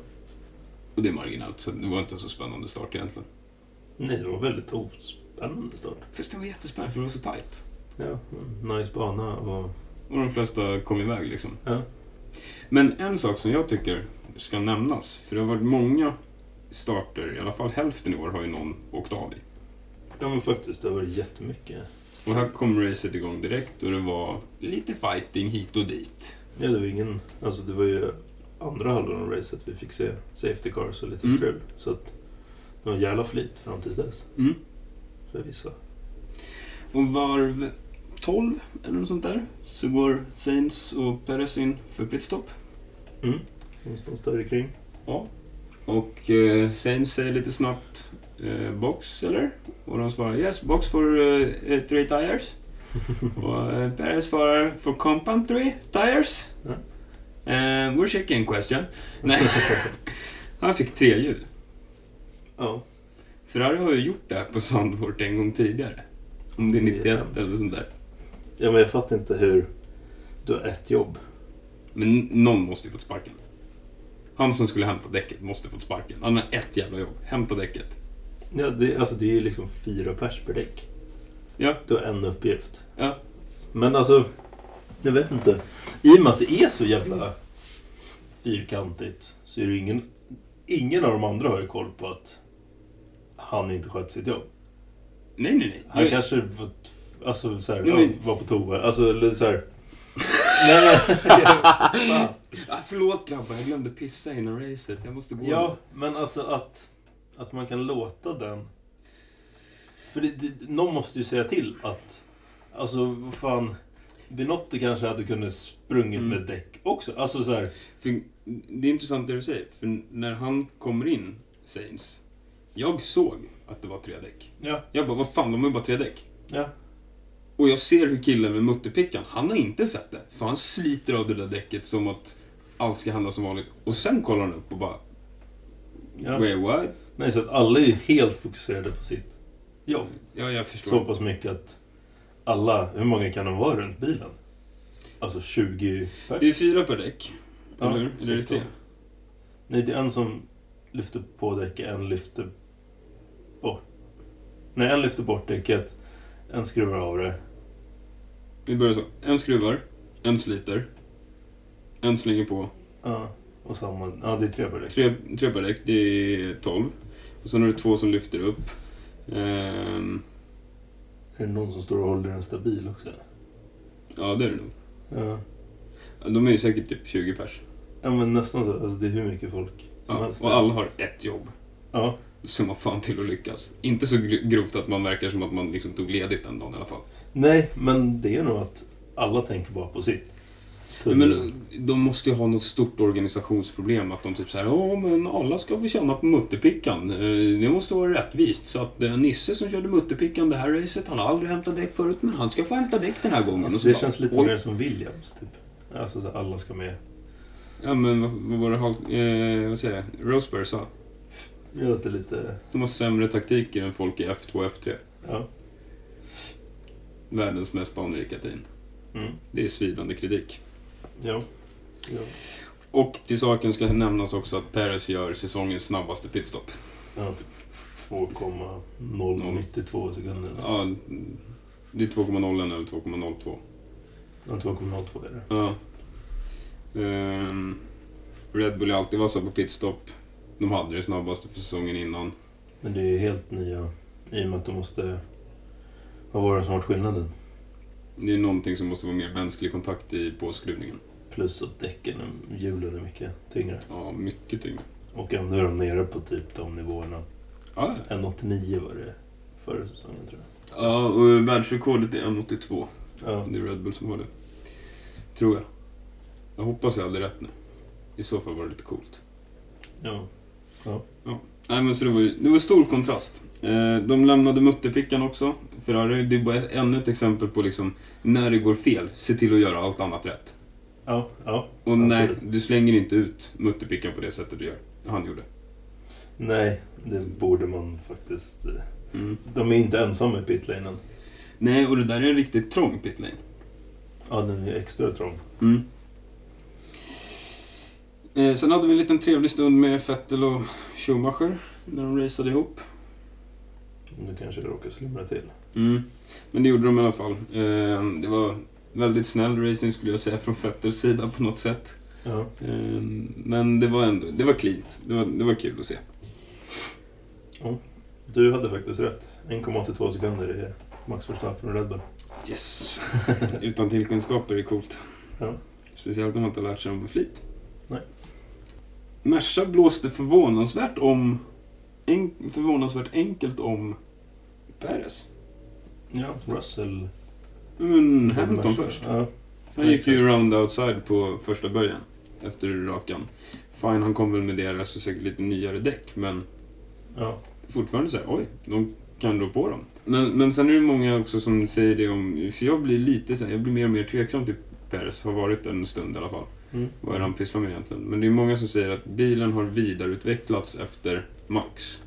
A: Och det är marginellt, så det var inte en så spännande start egentligen.
B: Nej, det var väldigt ospännande start.
A: Fast det var jättespännande för det var så tajt.
B: Ja. mm, Nice bana och...
A: Och de flesta kom iväg liksom.
B: Ja.
A: Men en sak som jag tycker ska nämnas, för det har varit många starter, i alla fall hälften i år har ju någon åkt av i.
B: Ja men faktiskt, det har varit jättemycket.
A: Och här kom racet igång direkt och det var lite fighting hit och dit.
B: Ja, det var ingen... Alltså det var ju andra halvan av racet vi fick se safety cars och lite
A: Mm.
B: strul. Så att det var en jävla flyt fram tills dess.
A: Mm.
B: För vissa.
A: Och varv 12 eller något sånt där så går Sainz och Perez in för pitstop.
B: Mm. Någonstans där kring.
A: Och eh, Sainz säger lite snabbt eh, box eller? Och de svarar yes box for eh, three tires. och eh, Perez svarar for compound three tires.
B: Ja.
A: Eh, we're checking question. Nej. Han fick tre hjul.
B: Ja.
A: Ferrari har ju gjort det här på Sandvort en gång tidigare. Om det är 91
B: hemskt.
A: eller sånt där.
B: Ja men jag fattar inte hur... Du har ett jobb.
A: Men någon måste ju fått sparken. Han som skulle hämta däcket måste fått sparken. Han har ett jävla jobb. Hämta däcket.
B: Ja, det, alltså det är ju liksom fyra pers per däck.
A: Ja.
B: Du har en uppgift.
A: Ja.
B: Men alltså, jag vet inte. I och med att det är så jävla fyrkantigt så är det ju ingen... Ingen av de andra har ju koll på att han inte sköt sitt jobb.
A: Nej, nej, nej.
B: Han
A: Jag-
B: kanske var, t- alltså, så här,
A: Nej, men-
B: ja, var på toa. Alltså, eller så här... Nej, men, Fan.
A: ah, förlåt grabbar, jag glömde pissa innan racet. Jag måste gå
B: ja, men alltså att, att man kan låta den... För det, det, någon måste ju säga till att... Alltså, vad fan... Binotti kanske hade kunnat sprungit
A: Mm.
B: med däck också. Alltså så här...
A: För det är intressant det du säger. För när han kommer in, Sainz, jag såg att det var tre däck.
B: Ja,
A: Jag bara, vad fan, de har ju bara tre däck.
B: ja.
A: Och jag ser hur killen med mutterpickan, han har inte sett det. För han sliter av det där däcket som att allt ska handla som vanligt. Och sen kollar han upp och bara,
B: ja.
A: wait what?
B: Nej, så att alla är ju helt fokuserade på sitt jobb.
A: Ja, jag förstår.
B: Så pass mycket att alla... Hur många kan de vara runt bilen? Alltså 20
A: Det
B: pers?
A: är fyra per däck.
B: Ja,
A: eller hur? Eller är det tre?
B: 16. Nej, det är en som lyfter på däcket, en lyfter bort. Nej, en lyfter bort däcket, en skruvar av det.
A: Vi börjar så. En skruvar, en sliter, en slänger på.
B: Ja, och samma... Ja, det är tre per däck.
A: Tre, tre per däck, det är 12. Och sen har du två som lyfter upp. Ehm,
B: Är det någon som står och håller den stabil också?
A: ja, det är det nog.
B: Ja.
A: De är ju säkert typ 20 pers.
B: Ja, men nästan så. Alltså, det är hur mycket folk som
A: Ja,
B: helst.
A: och alla har ett jobb.
B: Ja,
A: Så man fan till att lyckas. Inte så gro- grovt att man verkar som att man liksom tog ledigt den dagen i alla fall.
B: Nej, men det är nog att alla tänker bara på sitt.
A: Men eh, de måste ju ha något stort organisationsproblem. Att de typ såhär, ja men alla ska få känna på mutterpickan. Eh, Det måste vara rättvist. Så att eh, Nisse som körde mutterpickan det här racet, han har aldrig hämtat däck förut, men han ska få hämta däck den här gången. Och så
B: Alltså, det
A: bara,
B: känns lite
A: oj.
B: mer som Williams, typ. Alltså, så att alla ska med.
A: Ja men vad, vad var det Hulk, eh, vad säger jag, Rosberg sa?
B: Det låter lite...
A: De har sämre taktiker än folk i F2 och F3.
B: Ja.
A: Världens mest anrika team.
B: Mm.
A: Det är svidande kritik.
B: Ja. Ja.
A: Och till saken ska nämnas också att Perez gör säsongens snabbaste pitstop.
B: ja. 2,092 sekunder. Ja.
A: Ja, det är 2,0 eller 2,02.
B: 2,02 är det.
A: Ja. Ehm, Red Bull är alltid vassa på pitstop. De hade det snabbaste för säsongen innan.
B: Men det är helt nya. I och med att de måste... Vad var det som var skillnaden?
A: Det är någonting som måste vara mer mänsklig kontakt i påskruvningen.
B: Plus att däcken, är- hjulen är mycket tyngre.
A: Ja, mycket tyngre.
B: Och ändå är de nere på typ de nivåerna.
A: Ja, ja.
B: 1,89 var det förra säsongen tror jag.
A: ja och världsrekordet är 1,82.
B: Ja.
A: Det är Red Bull som har det. Tror jag. Jag hoppas jag hade rätt nu. I så fall var det lite coolt.
B: ja.
A: Nej men så det var ju, det var stor kontrast. Eh, De lämnade mutterpickan också. Ferrari, det är bara ännu ett exempel på liksom, när det går fel, se till att göra allt annat rätt.
B: Ja, ja.
A: Och nej,
B: Absolut.
A: du slänger inte ut mutterpickan på det sättet du gör. Han gjorde.
B: Nej, det borde man faktiskt... eh,
A: Mm.
B: De är inte ensamma i pitlanen.
A: Nej, och det där är en riktigt trång pitlane.
B: Ja, den är extra trång.
A: Mm. Eh, sen hade vi en liten trevlig stund med Vettel och Schumacher när de raceade ihop.
B: Nu kanske det råkar slimra till.
A: Mm. Men det gjorde de i alla fall. Eh, det var väldigt snäll racing skulle jag säga från Vettels sida på något sätt.
B: Ja.
A: Eh, men det var ändå, det var cleant. Det var, det var kul att se.
B: Du hade faktiskt rätt. 1,82 sekunder är Max Verstappen och Red Bull.
A: Yes! Utan tillkunskaper är coolt.
B: Ja.
A: Speciellt när man inte har lärt sig dem med flit.
B: Nej.
A: Merca blåste förvånansvärt om... En, förvånansvärt enkelt om Perez.
B: Ja, Russell... Mm,
A: Men Hamilton först.
B: Ja.
A: Han gick ju round outside på första början. Efter rakan. Fine, han kom väl med DRS och säkert lite nyare däck, men
B: ja.
A: fortfarande så här, oj, de kan rå på dem. Men, men sen är det många också som säger det om... För jag blir lite så här, jag blir mer och mer tveksam till Perez. Har varit en stund i alla fall.
B: Mm.
A: Vad är det han pysslar med egentligen? Men det är många som säger att bilen har vidareutvecklats efter Max.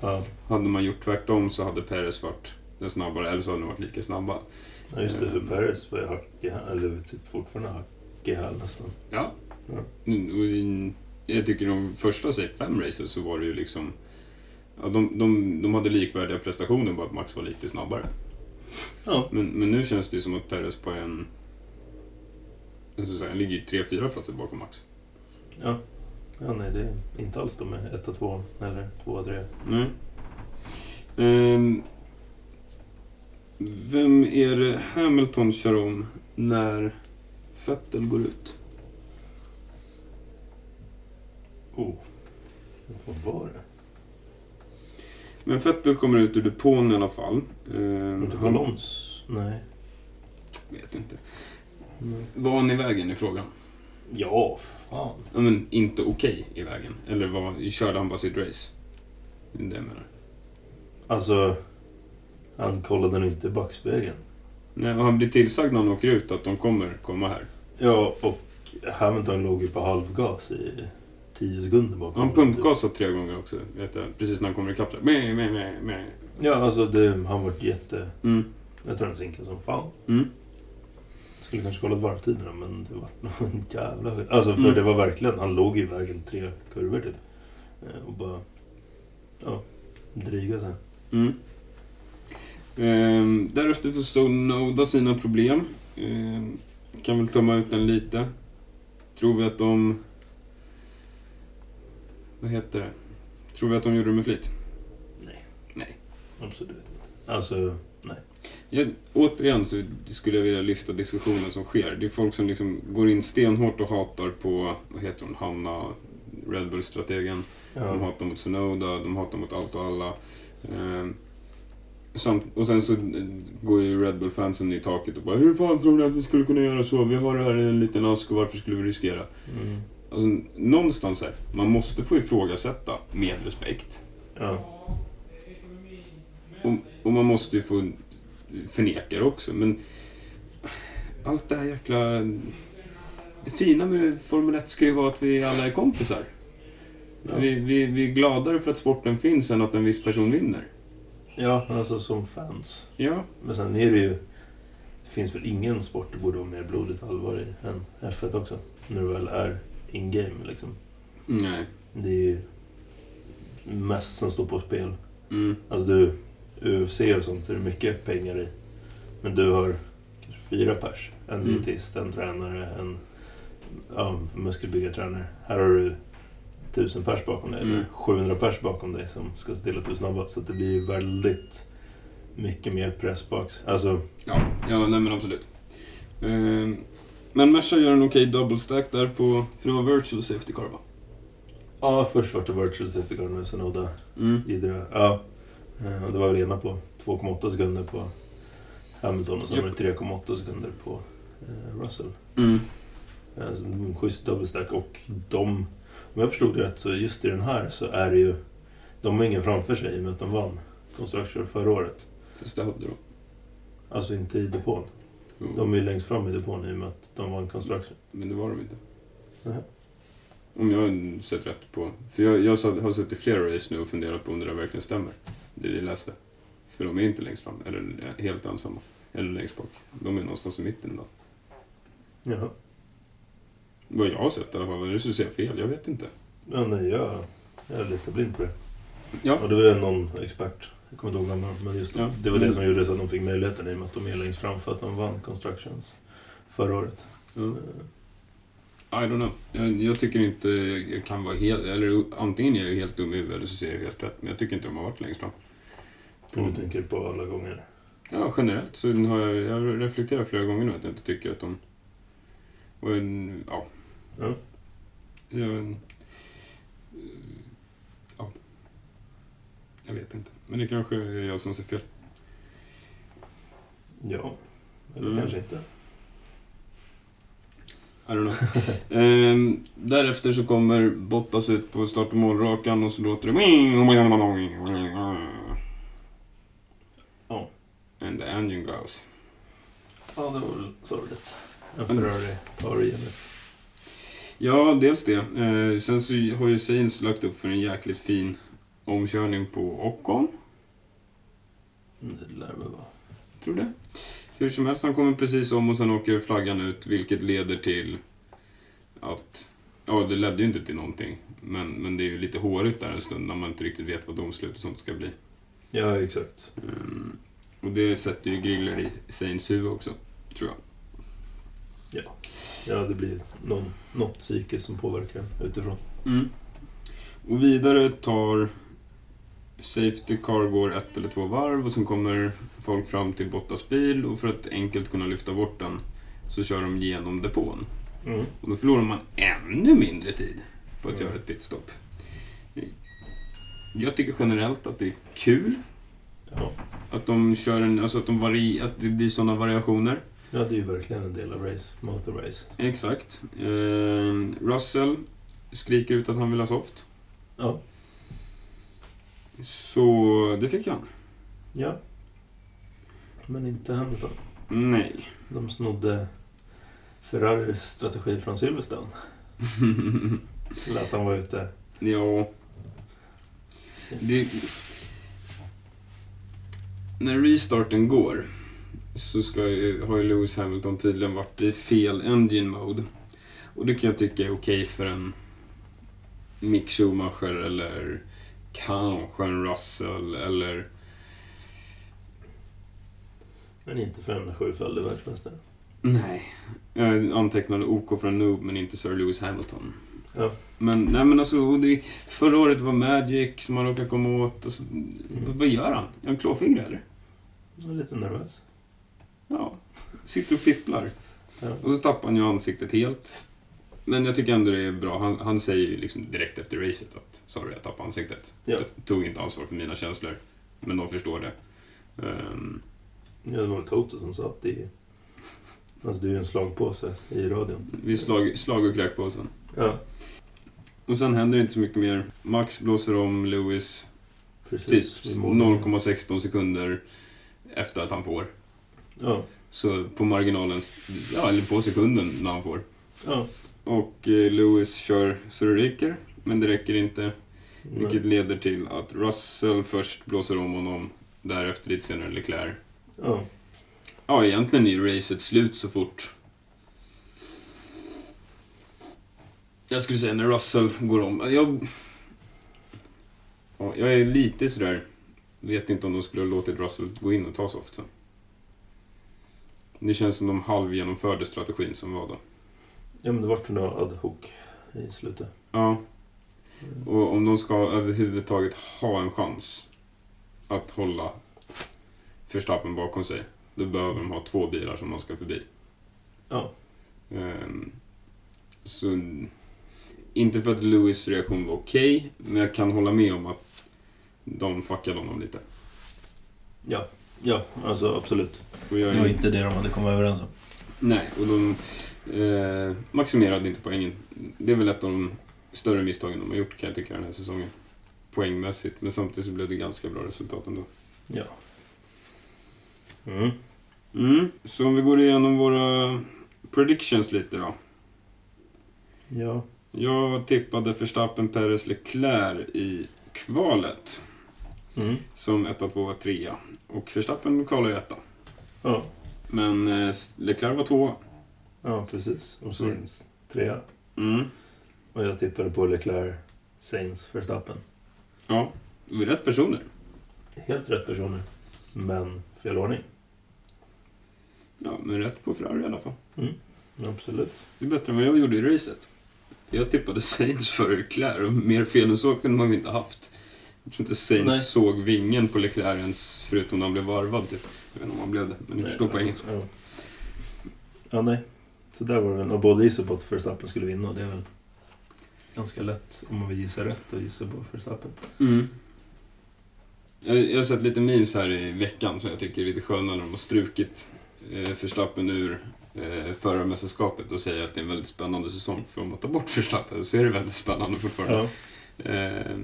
B: Ja,
A: Hade man gjort tvärtom så hade Perez varit den snabbare, eller så hade de varit lika snabba.
B: Ja, just det. För
A: Eh.
B: Paris var ju hack i häl, eller typ fortfarande hack i häl nästan.
A: Ja.
B: Ja.
A: Mm, och i- Jag tycker de första, säg fem racer, så var det ju liksom... Ja, de, de, de hade likvärdiga prestationer, bara att Max var lite snabbare.
B: Ja.
A: Men, men nu känns det ju som att Perez på en... Jag skulle säga, han ligger ju tre, fyra platser bakom Max.
B: Ja. Ja, nej, det är inte alls de är 1 två eller 2 3
A: Nej. Ehm, vem är det Hamilton kör om när Vettel går ut?
B: Oh. Vad var det?
A: Men Vettel kommer ut ur depån i alla fall. Ehm,
B: Var det typ
A: han-
B: Alons? Nej.
A: Vet inte.
B: Nej.
A: Var han i vägen i frågan?
B: Ja, fan.
A: Ja, men inte okej i vägen. Eller var, körde han bara sitt race? Det är det jag menar.
B: Alltså, han kollade nog inte i backspegeln.
A: Nej, och han blir tillsagd när han åker ut att de kommer komma här.
B: Ja, och Hamilton låg ju på halvgas i 10 sekunder bakom. typ.
A: Han pumpgasar tre gånger också, vet jag. Precis när han kommer ikapp. där. Meh, meh, meh, meh.
B: Ja, alltså det, han vart jätte...
A: Mm.
B: Jag tror han sinkade som fan.
A: Mm.
B: Skulle kanske kollat varvtiderna, men det var nog en jävla skit. Alltså, för
A: Mm.
B: det var verkligen... Han låg i vägen tre kurvor typ. Eh, Och bara... Ja, dryga sig.
A: Mm. Ehm, därefter får Sonoda sina problem. Ehm, kan väl tömma ut den lite. Tror vi att de... Vad heter det? Tror vi att de gjorde det med flit?
B: Absolut inte. Alltså,
A: Jag, återigen så skulle jag vilja lyfta diskussionen som sker. Det är folk som liksom går in stenhårt och hatar på, vad heter hon, Hanna, Red Bull-strategen. De
B: ja.
A: hatar mot Sonoda, de hatar mot allt och alla. Ehm, samt, och sen så eh, går ju Red Bull-fansen i taket och bara Hur fan tror ni att vi skulle kunna göra så? Vi har det här i en liten ask och varför skulle vi riskera?
B: Mm.
A: Alltså, någonstans här, man måste få ifrågasätta med respekt.
B: Ja.
A: Och, och man måste ju få förneka det också, men... Allt det här jäkla... Det fina med Formel 1 ska ju vara att vi alla är kompisar.
B: Ja.
A: Vi, vi, vi är gladare för att sporten finns än att en viss person vinner.
B: Ja, alltså som fans.
A: Ja,
B: Men sen är det ju... Det finns väl ingen sport det borde vara mer blodigt allvar i än F1 också. När det väl är in-game liksom.
A: nej.
B: Det är ju mest som står på spel.
A: Mm.
B: Alltså du, UFC och sånt, det är mycket pengar i. Men du har kanske fyra pers. En
A: Mm.
B: dietist, en tränare, en ja, muskelbyggartränare. Här har du tusen pers bakom dig, eller
A: Mm.
B: 700 pers bakom dig som ska se till att du är snabbast. Så att det blir ju väldigt mycket mer press bak. Alltså,
A: Ja, ja nej men absolut. Ehm, men Merca gör en okej double stack där på, för det var virtual safety car va?
B: ja, först var det virtual safety car nu, sen Oda
A: Mm.
B: Idra. Ja, Eh, och det var väl ena på 2,8 sekunder på Hamilton och sen
A: Japp.
B: var det 3,8 sekunder på eh, Russell.
A: Mm.
B: Alltså, en schysst dubbelstack och de, om jag förstod det rätt, så just i den här så är det ju... De har ingen framför sig i och med att de vann Constructure förra året.
A: Fast det hade de.
B: Alltså inte i depån.
A: Jo,
B: De är ju längst fram i depån i och med att de vann Construction.
A: Men det var de inte.
B: Nej.
A: Om jag har sett rätt på... För jag, jag sa- har suttit flera race nu och funderat på om det där verkligen stämmer. Det vi läste. För de är inte längst fram, eller eh, helt ensamma. Eller längst bak. De är någonstans i mitten då.
B: Jaha.
A: Vad jag har sett i alla fall, eller så ser jag fel, jag vet inte.
B: Ja, nej, jag, jag är lite blind på det.
A: Ja.
B: Och det var ju någon expert, jag kommer inte ihåg vem det var, men just det,
A: Ja.
B: det var det som gjorde så att de fick möjligheten i och med att de är längst fram för att de vann Constructions förra året. Eh,
A: I don't know. Jag, jag tycker inte jag kan vara helt... Eller antingen är jag helt dum i huvudet eller så ser jag helt rätt. Men jag tycker inte de har varit längst fram.
B: Om
A: Mm.
B: du tänker på alla gånger.
A: Ja, generellt så har jag, jag reflekterat flera gånger nu att jag inte tycker att de... Och en, ja.
B: Ja.
A: Jag, ja. Jag vet inte. Men det kanske är jag som ser fel.
B: Ja, eller
A: Mm.
B: kanske inte.
A: I don't know. Ehm, därefter så kommer Bottas ut på start och målrakan och så låter det...
B: Ja.
A: And the engine goes.
B: Ja, det var väl sorgligt. En
A: Men-
B: Ferrari har genet.
A: Ja, dels det. Eh, sen så har ju Sainz lagt upp för en jäkligt fin omkörning på Ocon.
B: Mm, Det lär väl vara.
A: Tror det. Hur som helst, han kommer precis om och sen åker flaggan ut, vilket leder till att... Ja, det ledde ju inte till någonting. Men, men det är ju lite hårigt där en stund när man inte riktigt vet vad domslutet och sånt ska bli.
B: Ja, exakt.
A: Ehm, och det sätter ju griller i Sainz huvud också, tror jag.
B: Ja, det blir någon, något psyke som påverkar utifrån.
A: Mm. Och vidare tar Safety Car går ett eller två varv och sen kommer folk fram till Bottas bil och för att enkelt kunna lyfta bort den så kör de genom depån.
B: Mm.
A: Och då förlorar man ännu mindre tid på att
B: Mm.
A: göra ett pitstop. Jag tycker generellt att det är kul
B: Ja.
A: att de kör en, alltså att, de vari, att det blir sådana variationer.
B: ja, det är ju verkligen en del av race, motorrace.
A: Exakt. Ehm, Russell skriker ut att han vill ha soft.
B: Ja.
A: Så det fick han.
B: ja. Men inte Hamilton.
A: Nej.
B: De snodde Ferraris strategi från Silverstone. Eller att han var ute.
A: ja. Det... När restarten går så ska ju, har ju Lewis Hamilton tydligen varit i fel engine mode. Och det kan jag tycka är okej för en Mick Schumacher eller kanske en Russell eller...
B: Men inte för en sjufaldig världsmästare.
A: Nej. Jag antecknade OK för en noob men inte Sir Lewis Hamilton.
B: Ja.
A: Men, nej men alltså, och det, förra året var Magic som han råkade komma åt. Alltså, vad-
B: Mm.
A: Vad gör han? Är han klåfingrig eller?
B: Jag är lite nervös.
A: Ja, sitter och fipplar.
B: Ja.
A: Och så tappar han ju ansiktet helt. Men jag tycker ändå det är bra. Han, han säger ju liksom direkt efter racet att sorry, jag tappade ansiktet.
B: Ja.
A: T- Tog inte ansvar för mina känslor. Men de förstår det. Ehm,
B: Ja, det var väl Toto som sa att det är... Alltså, det är ju en slagpåse i radion.
A: vi slag, slag och kräkpåsen.
B: Ja,
A: Och sen händer det inte så mycket mer. Max blåser om Lewis typ
B: precis. Vi målade-
A: 0,16 sekunder efter att han får.
B: Ja,
A: Så på marginalen, ja eller på sekunden när han får.
B: ja.
A: Och eh, Lewis kör så det ryker. men det räcker inte.
B: Men-
A: Vilket leder till att Russell först blåser om honom, därefter lite senare Leclerc.
B: Ja.
A: Ja, egentligen är ju racet slut så fort... Jag skulle säga när Russell går om. Jag... Ja, jag är lite sådär... Vet inte om de skulle ha låtit Russell gå in och ta soften. Det känns som de halvgenomförde strategin som var då.
B: ja, men det vart ju några ad hoc i slutet.
A: Ja, och om de ska överhuvudtaget ha en chans att hålla Verstappen bakom sig, då behöver de ha två bilar som de ska förbi.
B: Ja.
A: Ehm, så, inte för att Lewis reaktion var okej, men jag kan hålla med om att de fuckade honom lite.
B: Ja, alltså absolut.
A: Och jag,
B: Det var inte det de hade kommit överens om.
A: Nej, och de eh, maximerade inte poängen. Det är väl ett av de större misstagen de har gjort kan jag tycka den här säsongen. Poängmässigt, men samtidigt så blev det ganska bra resultat ändå.
B: Ja. Mm.
A: Mm, så om vi går igenom våra predictions lite då.
B: Ja.
A: Jag tippade Verstappen, Perez, Leclerc i kvalet
B: Mm.
A: som etta, tvåa, trea. Och Verstappen kvalade ju etta.
B: Ja.
A: Men eh, Leclerc var tvåa.
B: ja, precis. Och
A: Så-
B: Sainz trea.
A: Mm.
B: Och jag tippade på Leclerc, Sainz, Verstappen.
A: Ja, det var rätt personer.
B: Helt rätt personer. Men fel ordning.
A: Ja, men rätt på Ferrari i alla fall.
B: Absolut.
A: Det är bättre än vad jag gjorde i racet. Jag tippade Sainz före Leclerc och mer fel än så kunde man ju inte haft. Jag tror inte Sainz
B: Nej.
A: såg vingen på Leclerc ens, förutom när han blev varvad typ. Jag vet inte om han blev det, men ni
B: Nej,
A: förstår poängen.
B: Ja. ja, nej. Så där var det väl. Och båda gissade på att Verstappen skulle vinna. och Det är väl ganska lätt om man vill gissa rätt och gissa på Verstappen.
A: Mm. Jag, jag har sett lite memes här i veckan som jag tycker är lite sköna när de har strukit eh, Verstappen ur eh, förarmästerskapet och säger att det är en väldigt spännande säsong. För om man tar bort Verstappen så är det väldigt spännande fortfarande.
B: Ja.
A: Eh,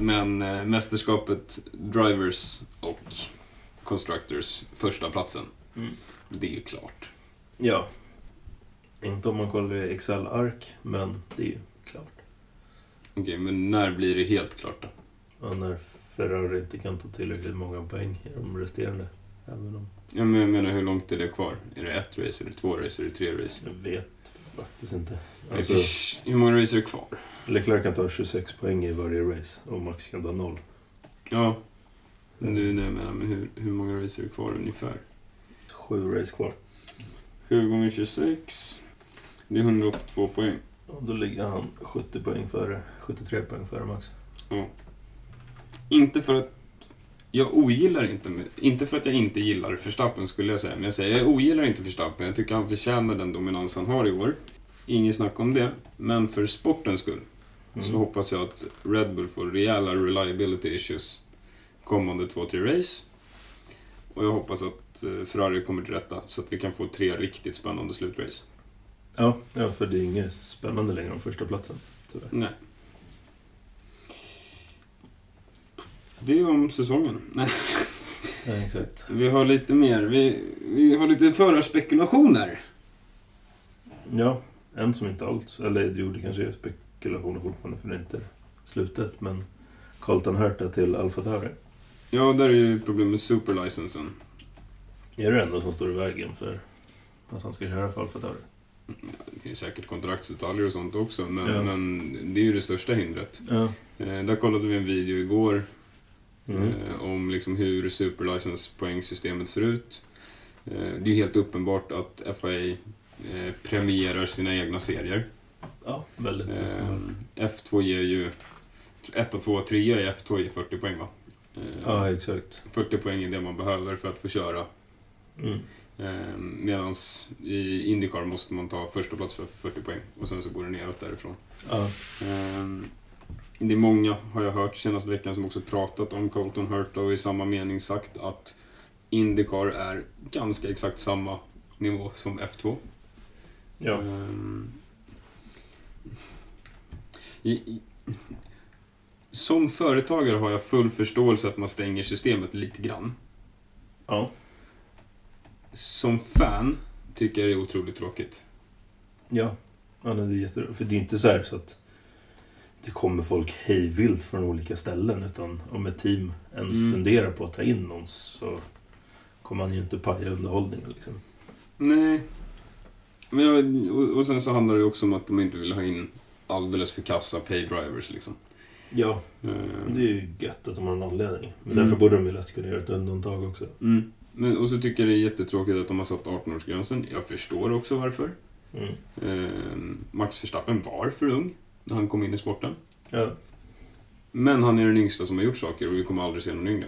A: men eh, mästerskapet Drivers och Constructors, första platsen
B: Mm.
A: det är ju klart.
B: ja. Inte om man kollar i Excel-ark, men det är ju klart.
A: Okej, men när blir det helt klart då?
B: Ja, när Ferrari inte kan ta tillräckligt många poäng i de resterande. Även om
A: Ja, men jag menar, hur långt är det kvar? Är det ett race, är det två race, är det tre race?
B: jag vet faktiskt inte.
A: Nej,
B: Alltså,
A: fisch, hur många race är det kvar?
B: Leclerc kan ta 26 poäng i varje race och Max kan ta noll.
A: Ja, nu när jag menar, men hur, hur många race är det kvar ungefär?
B: Sju race kvar.
A: 7 gånger 26, det är 182 poäng.
B: Och då ligger han 70 poäng före, 73 poäng före Max.
A: Inte för att jag ogillar inte, inte för att jag inte gillar Verstappen skulle jag säga, men jag säger jag ogillar inte Verstappen. Jag tycker han förtjänar den dominans han har i år. Inget snack om det, men för sportens skull
B: Mm.
A: så hoppas jag att Red Bull får rejäla reliability issues kommande två, tre race. Och jag hoppas att eh, Ferrari kommer till rätta så att vi kan få tre riktigt spännande slutrace.
B: Ja, ja, för det är inget spännande längre om första platsen. Tyvärr.
A: Nej. Det är om säsongen. Nej.
B: Nej, exakt.
A: Vi har lite mer, vi, vi har lite förarspekulationer.
B: Ja, en som inte alls, eller jo, det kanske är spekulationer fortfarande för det är inte slutet, men Carlton Herta till Alfa Tauri.
A: Ja, där är ju problemet med superlicensen.
B: Är det enda som står i vägen för att han ska köra för Alfa Tauri?
A: Det finns säkert kontraktsdetaljer och sånt också, men,
B: Ja.
A: men det är ju det största hindret.
B: Ja.
A: Eh, där kollade vi en video igår
B: Mm.
A: eh, om liksom hur superlicenspoängsystemet ser ut. Eh, det är ju helt uppenbart att FIA eh, premierar sina egna serier.
B: Ja, väldigt.
A: Ehm, F2 ger ju... 1, 2, 3 i F2 ger 40 poäng va? Ehm,
B: Ja, exakt.
A: 40 poäng är det man behöver för att få köra.
B: Mm.
A: Medan i Indycar måste man ta första plats för 40 poäng och sen så går det neråt därifrån.
B: Ja.
A: Ehm, Det är många, har jag hört senaste veckan, som också pratat om Colton Hurt och i samma mening sagt att Indycar är ganska exakt samma nivå som F2.
B: ja.
A: Ehm, i, i, som företagare har jag full förståelse att man stänger systemet lite grann.
B: Ja.
A: Som fan tycker jag det är otroligt tråkigt.
B: Ja, ja nej, det är jättebra. För det är inte så här så att det kommer folk hejvilt från olika ställen. Utan om ett team ens
A: Mm.
B: funderar på att ta in någon så kommer man ju inte paja underhållningen. Liksom.
A: Nej. Men jag, och, och sen så handlar det ju också om att de inte vill ha in alldeles för kassa paydrivers liksom.
B: Ja,
A: Eh,
B: det är ju gött att de har en anledning. Men
A: Mm.
B: därför borde de ju lätt kunna göra ett undantag också.
A: Mm. Men, och så tycker jag det är jättetråkigt att de har satt 18-årsgränsen. Jag förstår också varför.
B: Mm.
A: Ehm, Max Verstappen var för ung när han kom in i sporten.
B: Ja.
A: Men han är den yngsta som har gjort saker och vi kommer aldrig se någon yngre.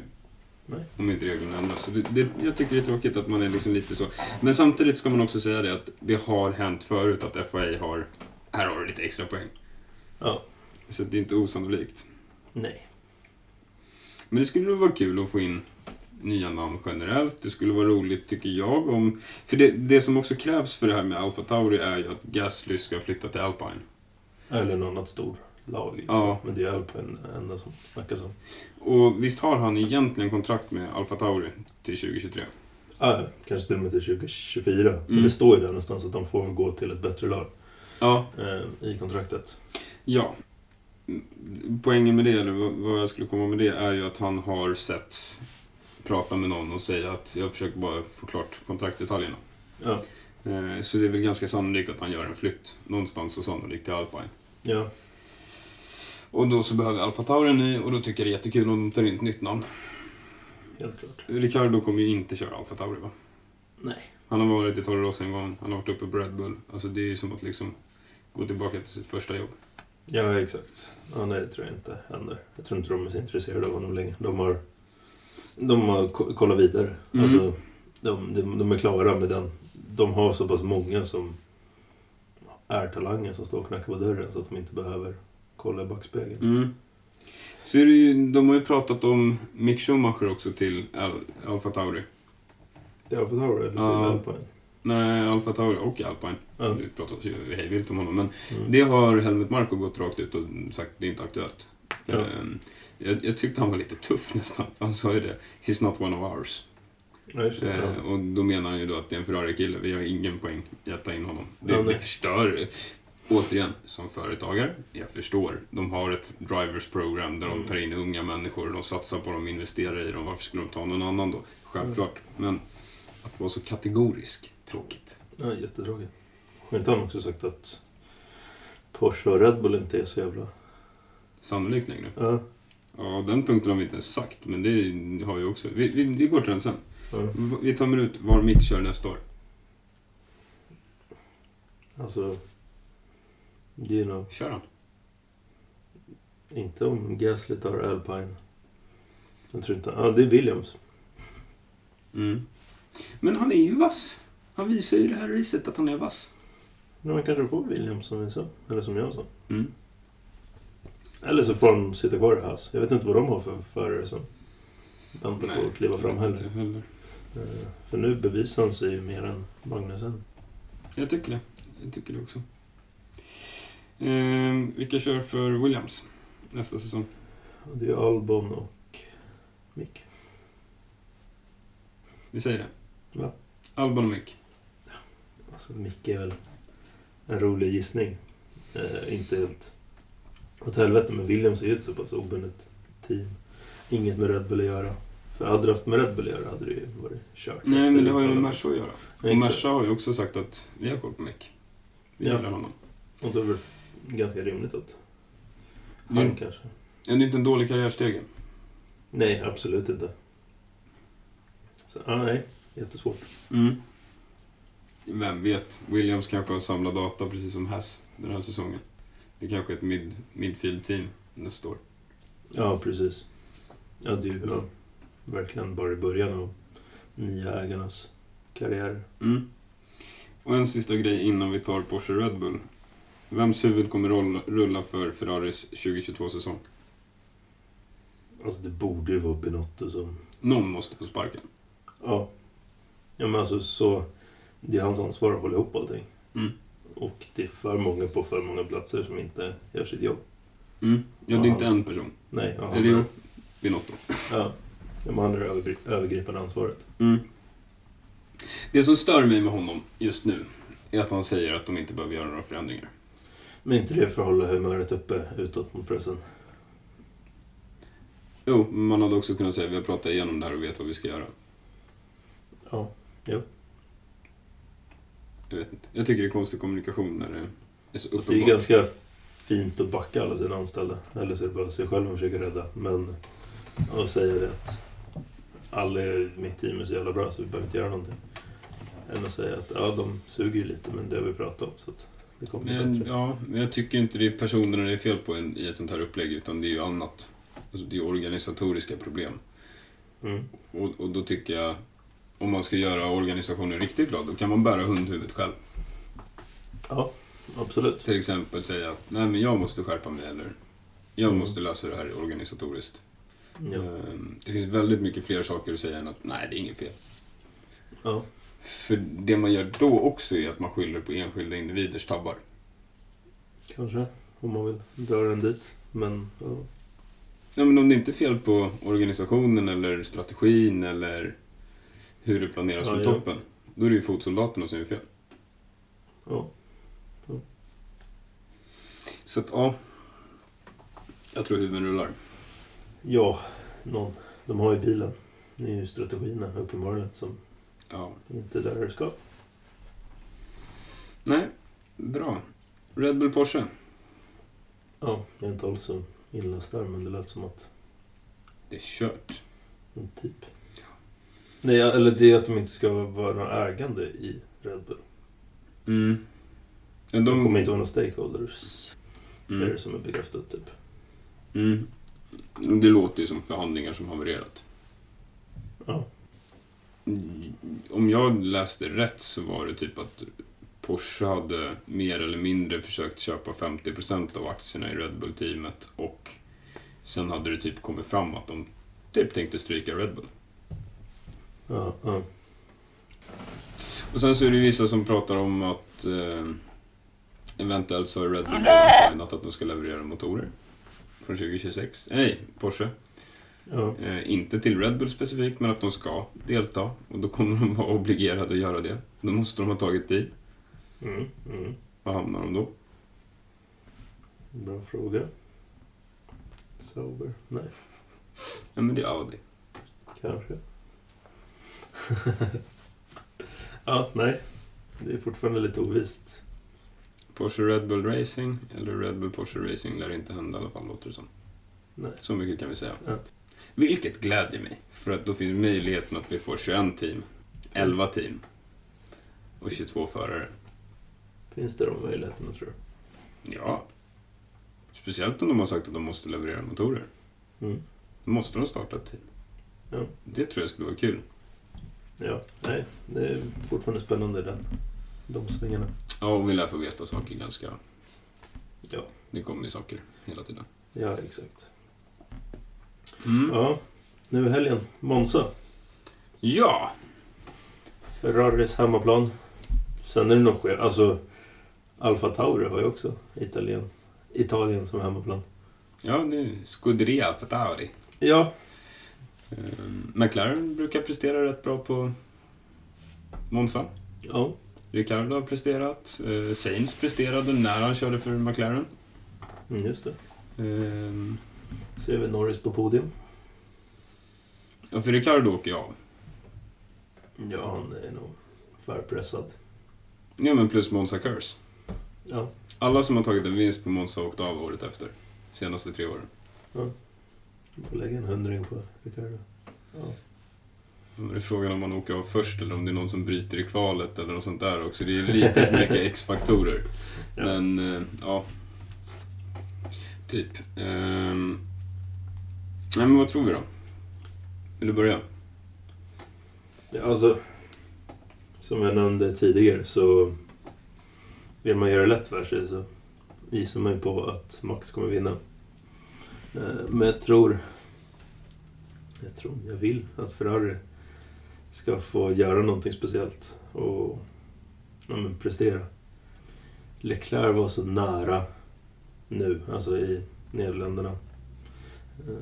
B: Nej.
A: Om inte reglerna ändras. Så det, det, jag tycker det är tråkigt att man är liksom lite så. Men samtidigt ska man också säga det att det har hänt förut att FIA har... Här har du lite extra poäng.
B: Ja.
A: Så det är inte osannolikt.
B: Nej.
A: Men det skulle nog vara kul att få in nya namn generellt. Det skulle vara roligt, tycker jag, om... För det, det som också krävs för det här med Alfa Tauri är ju att Gasly ska flytta till Alpine.
B: Eller något annat stor lag. Liksom.
A: Ja.
B: Men det är Alpine enda som snackas om.
A: Och visst har han egentligen kontrakt med Alfa Tauri till 2023?
B: Ah, kanske till och med till 2024. Men
A: Mm.
B: det står ju där någonstans att de får gå till ett bättre lag
A: Ja.
B: eh, i kontraktet.
A: Ja. Poängen med det, eller vad- vad jag skulle komma med det, är ju att han har sett prata med någon och säga att jag försöker bara få klart kontraktdetaljerna.
B: Ja.
A: Eh, Så det är väl ganska sannolikt att han gör en flytt någonstans och sannolikt till Alpine.
B: Ja.
A: Och då så behöver Alfa Tauri en ny och då tycker jag det är jättekul om de tar in ett nytt namn.
B: Helt klart.
A: Ricardo kommer ju inte köra Alfa Tauri va?
B: Nej.
A: Han har varit i Toro Rosso en gång, han har varit uppe på Red Bull. Alltså det är ju som att liksom gå tillbaka till sitt första jobb.
B: Ja, exakt. Ja, nej, det tror jag inte händer. Jag tror inte de är så intresserade av honom länge. De har, de har ko- kollat vidare.
A: Mm.
B: Alltså, de, de, de är klara med den. De har så pass många som är talanger som står och knackar på dörren så att de inte behöver kolla i backspegeln.
A: Mm. Så är det ju, de har ju pratat om Mick Schumacher också till Al- Alfa Tauri.
B: Det har fått höra lite
A: Ja.
B: väl på en.
A: Nej, Alfa Tauri och Alpine.
B: Ja.
A: Det pratas ju hejvilt om honom. Men
B: Mm.
A: det har Helmut Marko gått rakt ut och sagt det är inte aktuellt.
B: Ja.
A: Ehm, Jag, jag tyckte han var lite tuff nästan, för han sa ju det. He's not one of ours.
B: Ja, just det.
A: Eh, och då menar han ju då att det är en Ferrari-kille. Vi har ingen poäng i att ta in honom. Det,
B: Ja, nej.
A: det förstör. Återigen, som företagare, jag förstår. De har ett drivers program där
B: Mm.
A: de tar in unga människor, de satsar på dem, investerar i dem. Varför skulle de ta någon annan
B: Mm.
A: då? Självklart. Men att vara så kategorisk, tråkigt.
B: Ja, jättetråkigt. Har inte han också sagt att Porsche och Red Bull inte är så jävla...
A: Sannolikt längre.
B: Ja,
A: Ja, den punkten har vi inte ens sagt, men det har vi också. Vi, vi, vi går till den sen.
B: ja.
A: V- Vi tar ut var Mick kör nästa år.
B: Alltså... Det är ju nog
A: Kör han?
B: inte om Gasly tar Alpine. Jag tror inte... Ja, det är Williams.
A: Mm. Men han är ju vass. Han visar ju i det här racet att han är vass.
B: Men man kanske får Williams som vi sa. Eller som jag sa.
A: Mm.
B: Eller så får de sitta kvar i Haas. Jag vet inte vad de har för förare som väntar på att kliva fram
A: jag vet
B: heller.
A: inte heller.
B: Eh, För nu bevisar han sig ju mer än Magnusen.
A: Jag tycker det. Jag tycker det också. Ehm, vilka kör för Williams nästa säsong?
B: Och Det är Albon och Mick.
A: Vi säger det.
B: Ja.
A: Albon och Mick.
B: Alltså Micke är väl en rolig gissning. Eh, inte helt åt helvete, men Williams är ju ett så pass obundet team. Inget med Red Bull att göra. För hade det haft med Red Bull att göra hade det ju varit kört.
A: Nej, men det har ju med Merca
B: Merca
A: att göra. Och
B: Exakt.
A: Merca har ju också sagt att vi har koll på Mick. Vi
B: Ja.
A: gillar honom.
B: Och då är det väl ganska rimligt att han
A: Det är,
B: kanske...
A: det är inte en dålig karriärstege.
B: Nej, absolut inte. Så, ah, nej, jättesvårt.
A: Mm. Vem vet? Williams kanske har samlat data precis som Haas den här säsongen. Det är kanske är ett mid, midfield-team nästa år.
B: Ja, precis. Ja, det är ju ja, verkligen bara i början av nya ägarnas karriär.
A: Mm. Och en sista grej innan vi tar Porsche Red Bull. Vems huvud kommer roll- rulla för Ferraris 2022-säsong?
B: Alltså det borde ju vara Binotto som...
A: Någon måste få sparken.
B: Ja. Ja men alltså så... Det är hans ansvar att hålla ihop allting.
A: Mm.
B: Och det är för många på för många platser som inte gör sitt jobb.
A: Mm. Ja, det är inte en person.
B: Nej, ja,
A: Eller jo, Binotto.
B: Ja. ja men han är det övergri- övergripande ansvaret.
A: Mm. Det som stör mig med honom just nu är att han säger att de inte behöver göra några förändringar.
B: Men inte det för att hålla humöret uppe utåt mot pressen.
A: Jo, men man hade också kunnat säga att vi har pratat igenom det här och vet vad vi ska göra.
B: Ja, jo.
A: Jag vet inte. Jag tycker det är konstig kommunikation när det är så
B: Fast det är ju
A: uppenbart.
B: ganska fint att backa alla sina anställda. Eller så är det bara sig själv man försöker rädda. Men att säga det att alla i mitt team är så jävla bra så vi behöver inte göra någonting. Än att säga att ja, de suger ju lite men det har vi pratat om så att det kommer bli
A: Men,
B: bättre.
A: ja, men jag tycker inte det är personerna det är fel på en, i ett sånt här upplägg, utan det är ju annat. Alltså, det är organisatoriska problem.
B: Mm.
A: Och, och då tycker jag, om man ska göra organisationen riktigt glad, då kan man bära hundhuvudet själv.
B: Absolut.
A: Till exempel säga att nej men jag måste skärpa mig eller jag
B: Mm.
A: måste lösa det här organisatoriskt.
B: Ja.
A: Ehm, Det finns väldigt mycket fler saker att säga än att nej, det är inget fel.
B: Ja.
A: För det man gör då också är att man skyller på enskilda individers tabbar.
B: Kanske, om man vill dra den dit. Men ja.
A: Nej, men om det inte är fel på organisationen eller strategin eller hur det planeras
B: Ja,
A: från
B: ja.
A: toppen, då är det ju fotsoldaterna som är fel.
B: ja.
A: Så att ja, jag tror huvuden rullar.
B: ja, någon. De har ju bilen. Det är ju strategierna uppenbarligen som
A: Ja.
B: inte är där det ska.
A: Nej, bra. Red Bull Porsche.
B: Ja, jag är inte alls så inläst där men det lät som att
A: Det är kört.
B: Mm, Typ. Nej, eller det är att de inte ska vara några ägande i Red Bull.
A: Mm. Ja,
B: De kommer
A: de,
B: inte vara några stakeholders. Är
A: mm,
B: det som är bekräftat typ.
A: mm. Det låter ju som förhandlingar som havererat.
B: Ja.
A: Mm, Om jag läste rätt så var det typ att Porsche hade mer eller mindre försökt köpa 50% av aktierna i Red Bull-teamet och sen hade det typ kommit fram att de typ tänkte stryka Red Bull.
B: Ja, ja.
A: Och sen så är det ju vissa som pratar om att eh, eventuellt så har Red Bull redan signat att de ska leverera motorer från 2026. Nej, Porsche.
B: ja.
A: Eh, inte till Red Bull specifikt, men att de ska delta. Och då kommer de vara obligerade att göra det. Då måste de ha tagit bil.
B: Mm, mm.
A: Var hamnar de då?
B: Bra fråga. Sober? Nej,
A: Ja, men det är Audi.
B: kanske. ja, nej. Det är fortfarande lite ovist.
A: Porsche Red Bull Racing, eller Red Bull Porsche Racing, lär inte hända i alla fall, låter det som.
B: Nej.
A: Så mycket kan vi säga.
B: Ja.
A: Vilket glädjer mig, för att då finns möjligheten att vi får 21 team, 11 team och 22 förare.
B: Finns det de möjligheterna tror
A: Ja. Speciellt om de har sagt att de måste leverera motorer.
B: du? Mm.
A: Då måste de starta ett team.
B: Ja.
A: Det tror jag skulle vara kul.
B: Ja, nej. Det är fortfarande spännande den. De svängarna.
A: Ja, och vi lär få veta saker ganska...
B: Ja.
A: Det kommer ju saker hela tiden.
B: Ja, exakt.
A: Mm.
B: Ja, nu i helgen. Monza.
A: Ja!
B: Ferraris hemmaplan. Sen är det nog sker. Alltså, Alfa Tauri har ju också Italien, Italien som hemmaplan.
A: Ja, nu Scuderia Fatari.
B: Ja,
A: Ehm, McLaren brukar prestera rätt bra på Monza.
B: ja.
A: Ricardo har presterat. Eh, Sainz presterade när han körde för McLaren.
B: Mm, just det.
A: Ehm,
B: Ser vi Norris på podium.
A: ja, för Ricardo åker jag av.
B: Ja, han är nog förpressad.
A: Ja, men plus Monza Curse.
B: Ja,
A: Alla som har tagit en vinst på Monza har åkt av året efter. Senaste tre åren.
B: vi får lägga en hundring på Ricardo. Ja.
A: Men Det är frågan om man åker av först eller om det är någon som bryter i kvalet eller något sånt där också. Det är lite för mycket X-faktorer.
B: Ja.
A: Men, eh, ja. Typ. Ehm. Nej, men vad tror vi då? Vill du börja?
B: Ja, alltså, som jag nämnde tidigare så vill man göra det lätt för sig så gissar man ju på att Max kommer vinna. Eh, Men jag tror, jag tror, jag vill att Ferrari ska få göra någonting speciellt och ja, men, prestera. Leclerc var så nära nu, alltså i Nederländerna. Eh,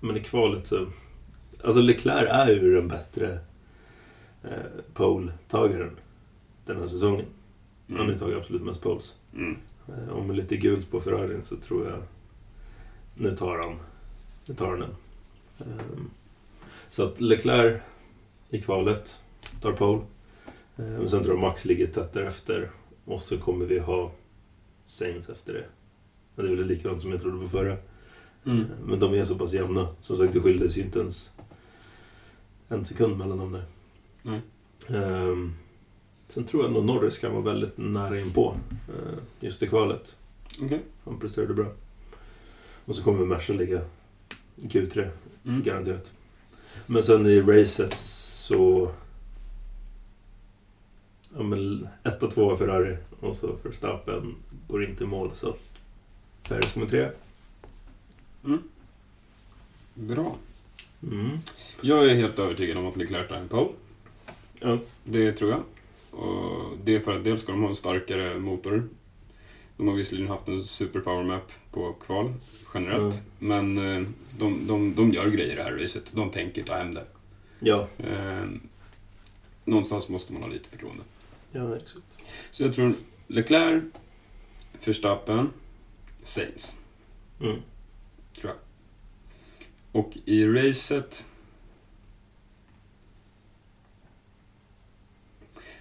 B: Men i kvalet så Alltså Leclerc är ju den bättre eh, pole-tagaren den här säsongen. Han har ju tagit absolut mest poles.
A: Mm.
B: Han eh, och med lite gult på Ferrarin så tror jag... Nu tar han, nu tar han den. Ehm, Så att Leclerc i kvalet tar pole. Ehm, Och sen tror jag Max ligger tätt därefter. Och så kommer vi ha Sainz efter det. Men det är väl likadant som jag trodde på förra.
A: Mm.
B: Men de är så pass jämna. Som sagt, det skildes ju inte ens en sekund mellan dem där.
A: Nej.
B: Ehm, sen tror jag nog Norris kan vara väldigt nära inpå uh, just i kvalet.
A: Okej.
B: Han presterade bra. Och så kommer Merca ligga i Q3,
A: Mm.
B: garanterat. Men sen i racet så... Ja men, etta, tvåa Ferrari och så Verstappen går inte i mål så att Perez kommer trea.
A: Mm. Bra.
B: Mm.
A: Jag är helt övertygad om att Leclerc tar en pole.
B: Ja.
A: Det tror jag. Och det är för att dels ska de ha en starkare motor. De har visserligen haft en superpower map på kval generellt. Men eh, de, de, de gör grejer i det här racet. De tänker ta hem det.
B: Ja,
A: Eh, någonstans måste man ha lite förtroende.
B: ja exakt.
A: Så jag tror Leclerc, Verstappen, Sainz.
B: Mm.
A: Tror jag. Och i racet...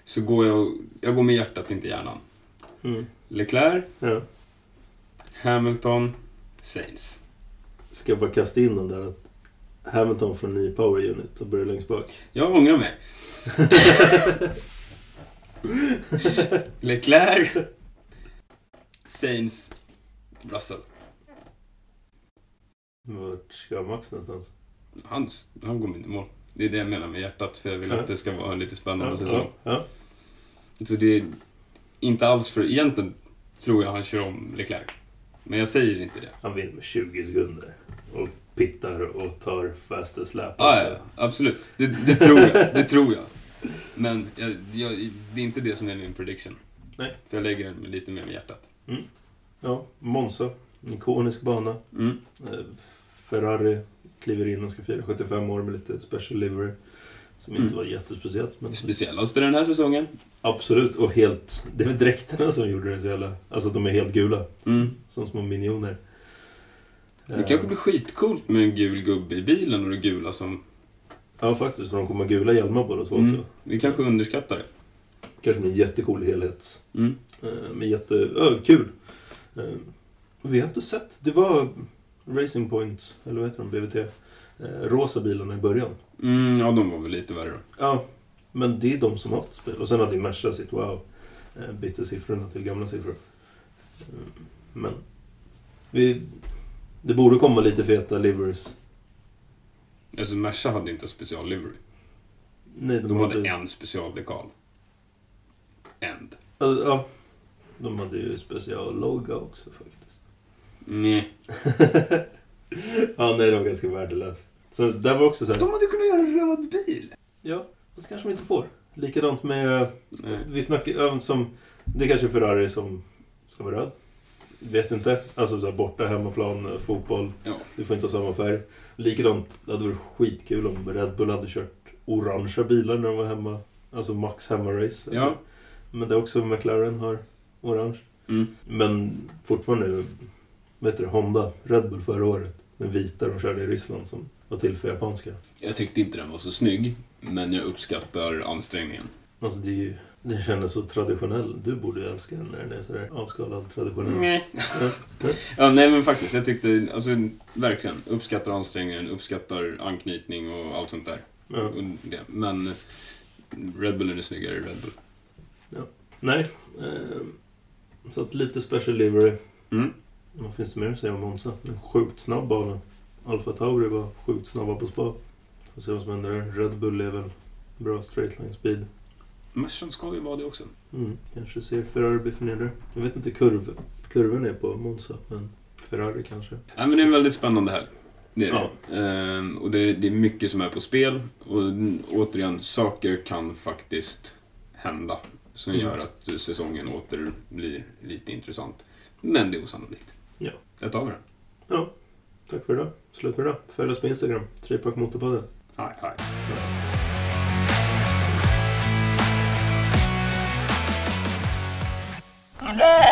A: Så går jag... Jag går med hjärtat, inte hjärnan.
B: Mm.
A: Leclerc,
B: Ja.
A: Hamilton, Sainz.
B: Ska jag bara kasta in den där att Hamilton från 9 Power Unit och börjar längst bak.
A: Jag ångrar mig. Leclerc, Sainz, Russell.
B: Vart ska Max någonstans?
A: Han, han går inte i mål. Det är det jag menar med hjärtat, för jag vill
B: Ja.
A: att det ska vara en lite spännande
B: Ja,
A: säsong.
B: ja.
A: Så det är inte alls för... Egentligen tror jag han kör om Leclerc. Men jag säger inte det.
B: Han vinner med 20 sekunder. Och pittar och tar fastest lap.
A: Ah, ja,
B: också.
A: absolut. Det, det tror jag. Det tror jag. Men jag, jag, det är inte det som är min prediction.
B: Nej.
A: För jag lägger den lite mer med hjärtat.
B: ja, Monza. En ikonisk bana.
A: Mm.
B: Eh, Ferrari kliver in och ska fira 75 år med lite special livery. Som inte
A: Mm.
B: var jättespeciellt. Men
A: Det speciellaste den här säsongen.
B: absolut, och helt... Det är väl dräkterna som gjorde det så jävla... Alltså de är helt gula.
A: Mm.
B: Som små minioner. Ehm,
A: Det kanske blir skitcoolt med en gul gubbe i bilen och det gula som...
B: Ja, faktiskt. För de kommer ha gula hjälmar båda två
A: Mm.
B: också.
A: Vi kanske underskattar det.
B: Kanske med en jättecool helhet.
A: Mm.
B: Eh, Med jätte... Ö, kul! Eh, Vi har inte sett... Det var Racing Point, eller vad heter de? BVT. eh, Rosa bilarna i början.
A: Mm, ja, de var väl lite värre då.
B: Ja, men det är de som har haft spel. Och sen hade ju Merca sitt wow. eh, Bytte siffrorna till gamla siffror. Eh, Men... Vi... Det borde komma lite feta livers.
A: Alltså, Merca hade inte special livery.
B: Nej,
A: De hade en specialdekal. End.
B: Ja, Ja. De hade ju speciallogga också faktiskt.
A: Nej.
B: ja, nej, det var ganska värdelöst. Så där var också så här...
A: hade kunnat göra en röd bil!
B: Ja, fast kanske de inte får. Likadant med... eh,
A: Nej.
B: Vi snackar ja, som... Det är kanske är Ferrari som ska vara röd. Vet inte. Alltså så här, borta, hemmaplan, eh, fotboll.
A: Ja.
B: Du får inte ha samma färg. Likadant, det hade varit skitkul om Red Bull hade kört orangea bilar när de var hemma. Alltså Max hemmarace.
A: Ja.
B: Men det är också McLaren har orange.
A: Mm.
B: Men fortfarande, vad heter det, Honda, Red Bull förra året. Den vita de körde i Ryssland som var till för japanska.
A: Jag tyckte inte den var så snygg, men jag uppskattar ansträngningen.
B: Alltså det är ju, den kändes så traditionell. Du borde ju älska den när den är sådär avskalad traditionell.
A: Nej. ja, nej, men faktiskt. Jag tyckte, alltså verkligen, uppskattar ansträngningen, uppskattar anknytning och allt sånt där.
B: Ja.
A: Och det. Men Red Bullen är snyggare i Red Bull.
B: Nej. ehm, så att lite special livery.
A: Mm.
B: Vad finns det mer att säga om Monza? En sjukt snabb bana. Alfa Tauri var sjukt snabba på spa. Får se vad som händer där. Red Bull är väl bra straight line speed.
A: Mercan ska ju vara det också.
B: Mm, kanske ser Ferrari bli förnedrad. Jag vet inte kurv, kurven är på Monza, men Ferrari kanske.
A: Nej, men det är en väldigt spännande helg. Det är det.
B: Ja.
A: Ehm, och det, det är mycket som är på spel. Och n- återigen, saker kan faktiskt hända. Som
B: Mm.
A: gör att säsongen åter blir lite intressant. Men det är osannolikt.
B: Ja.
A: Där tar vi den.
B: Tack för idag. Slut för idag. Följ oss på Instagram. Tripack Motorpodden.
A: Hej, hej.
C: Yeah.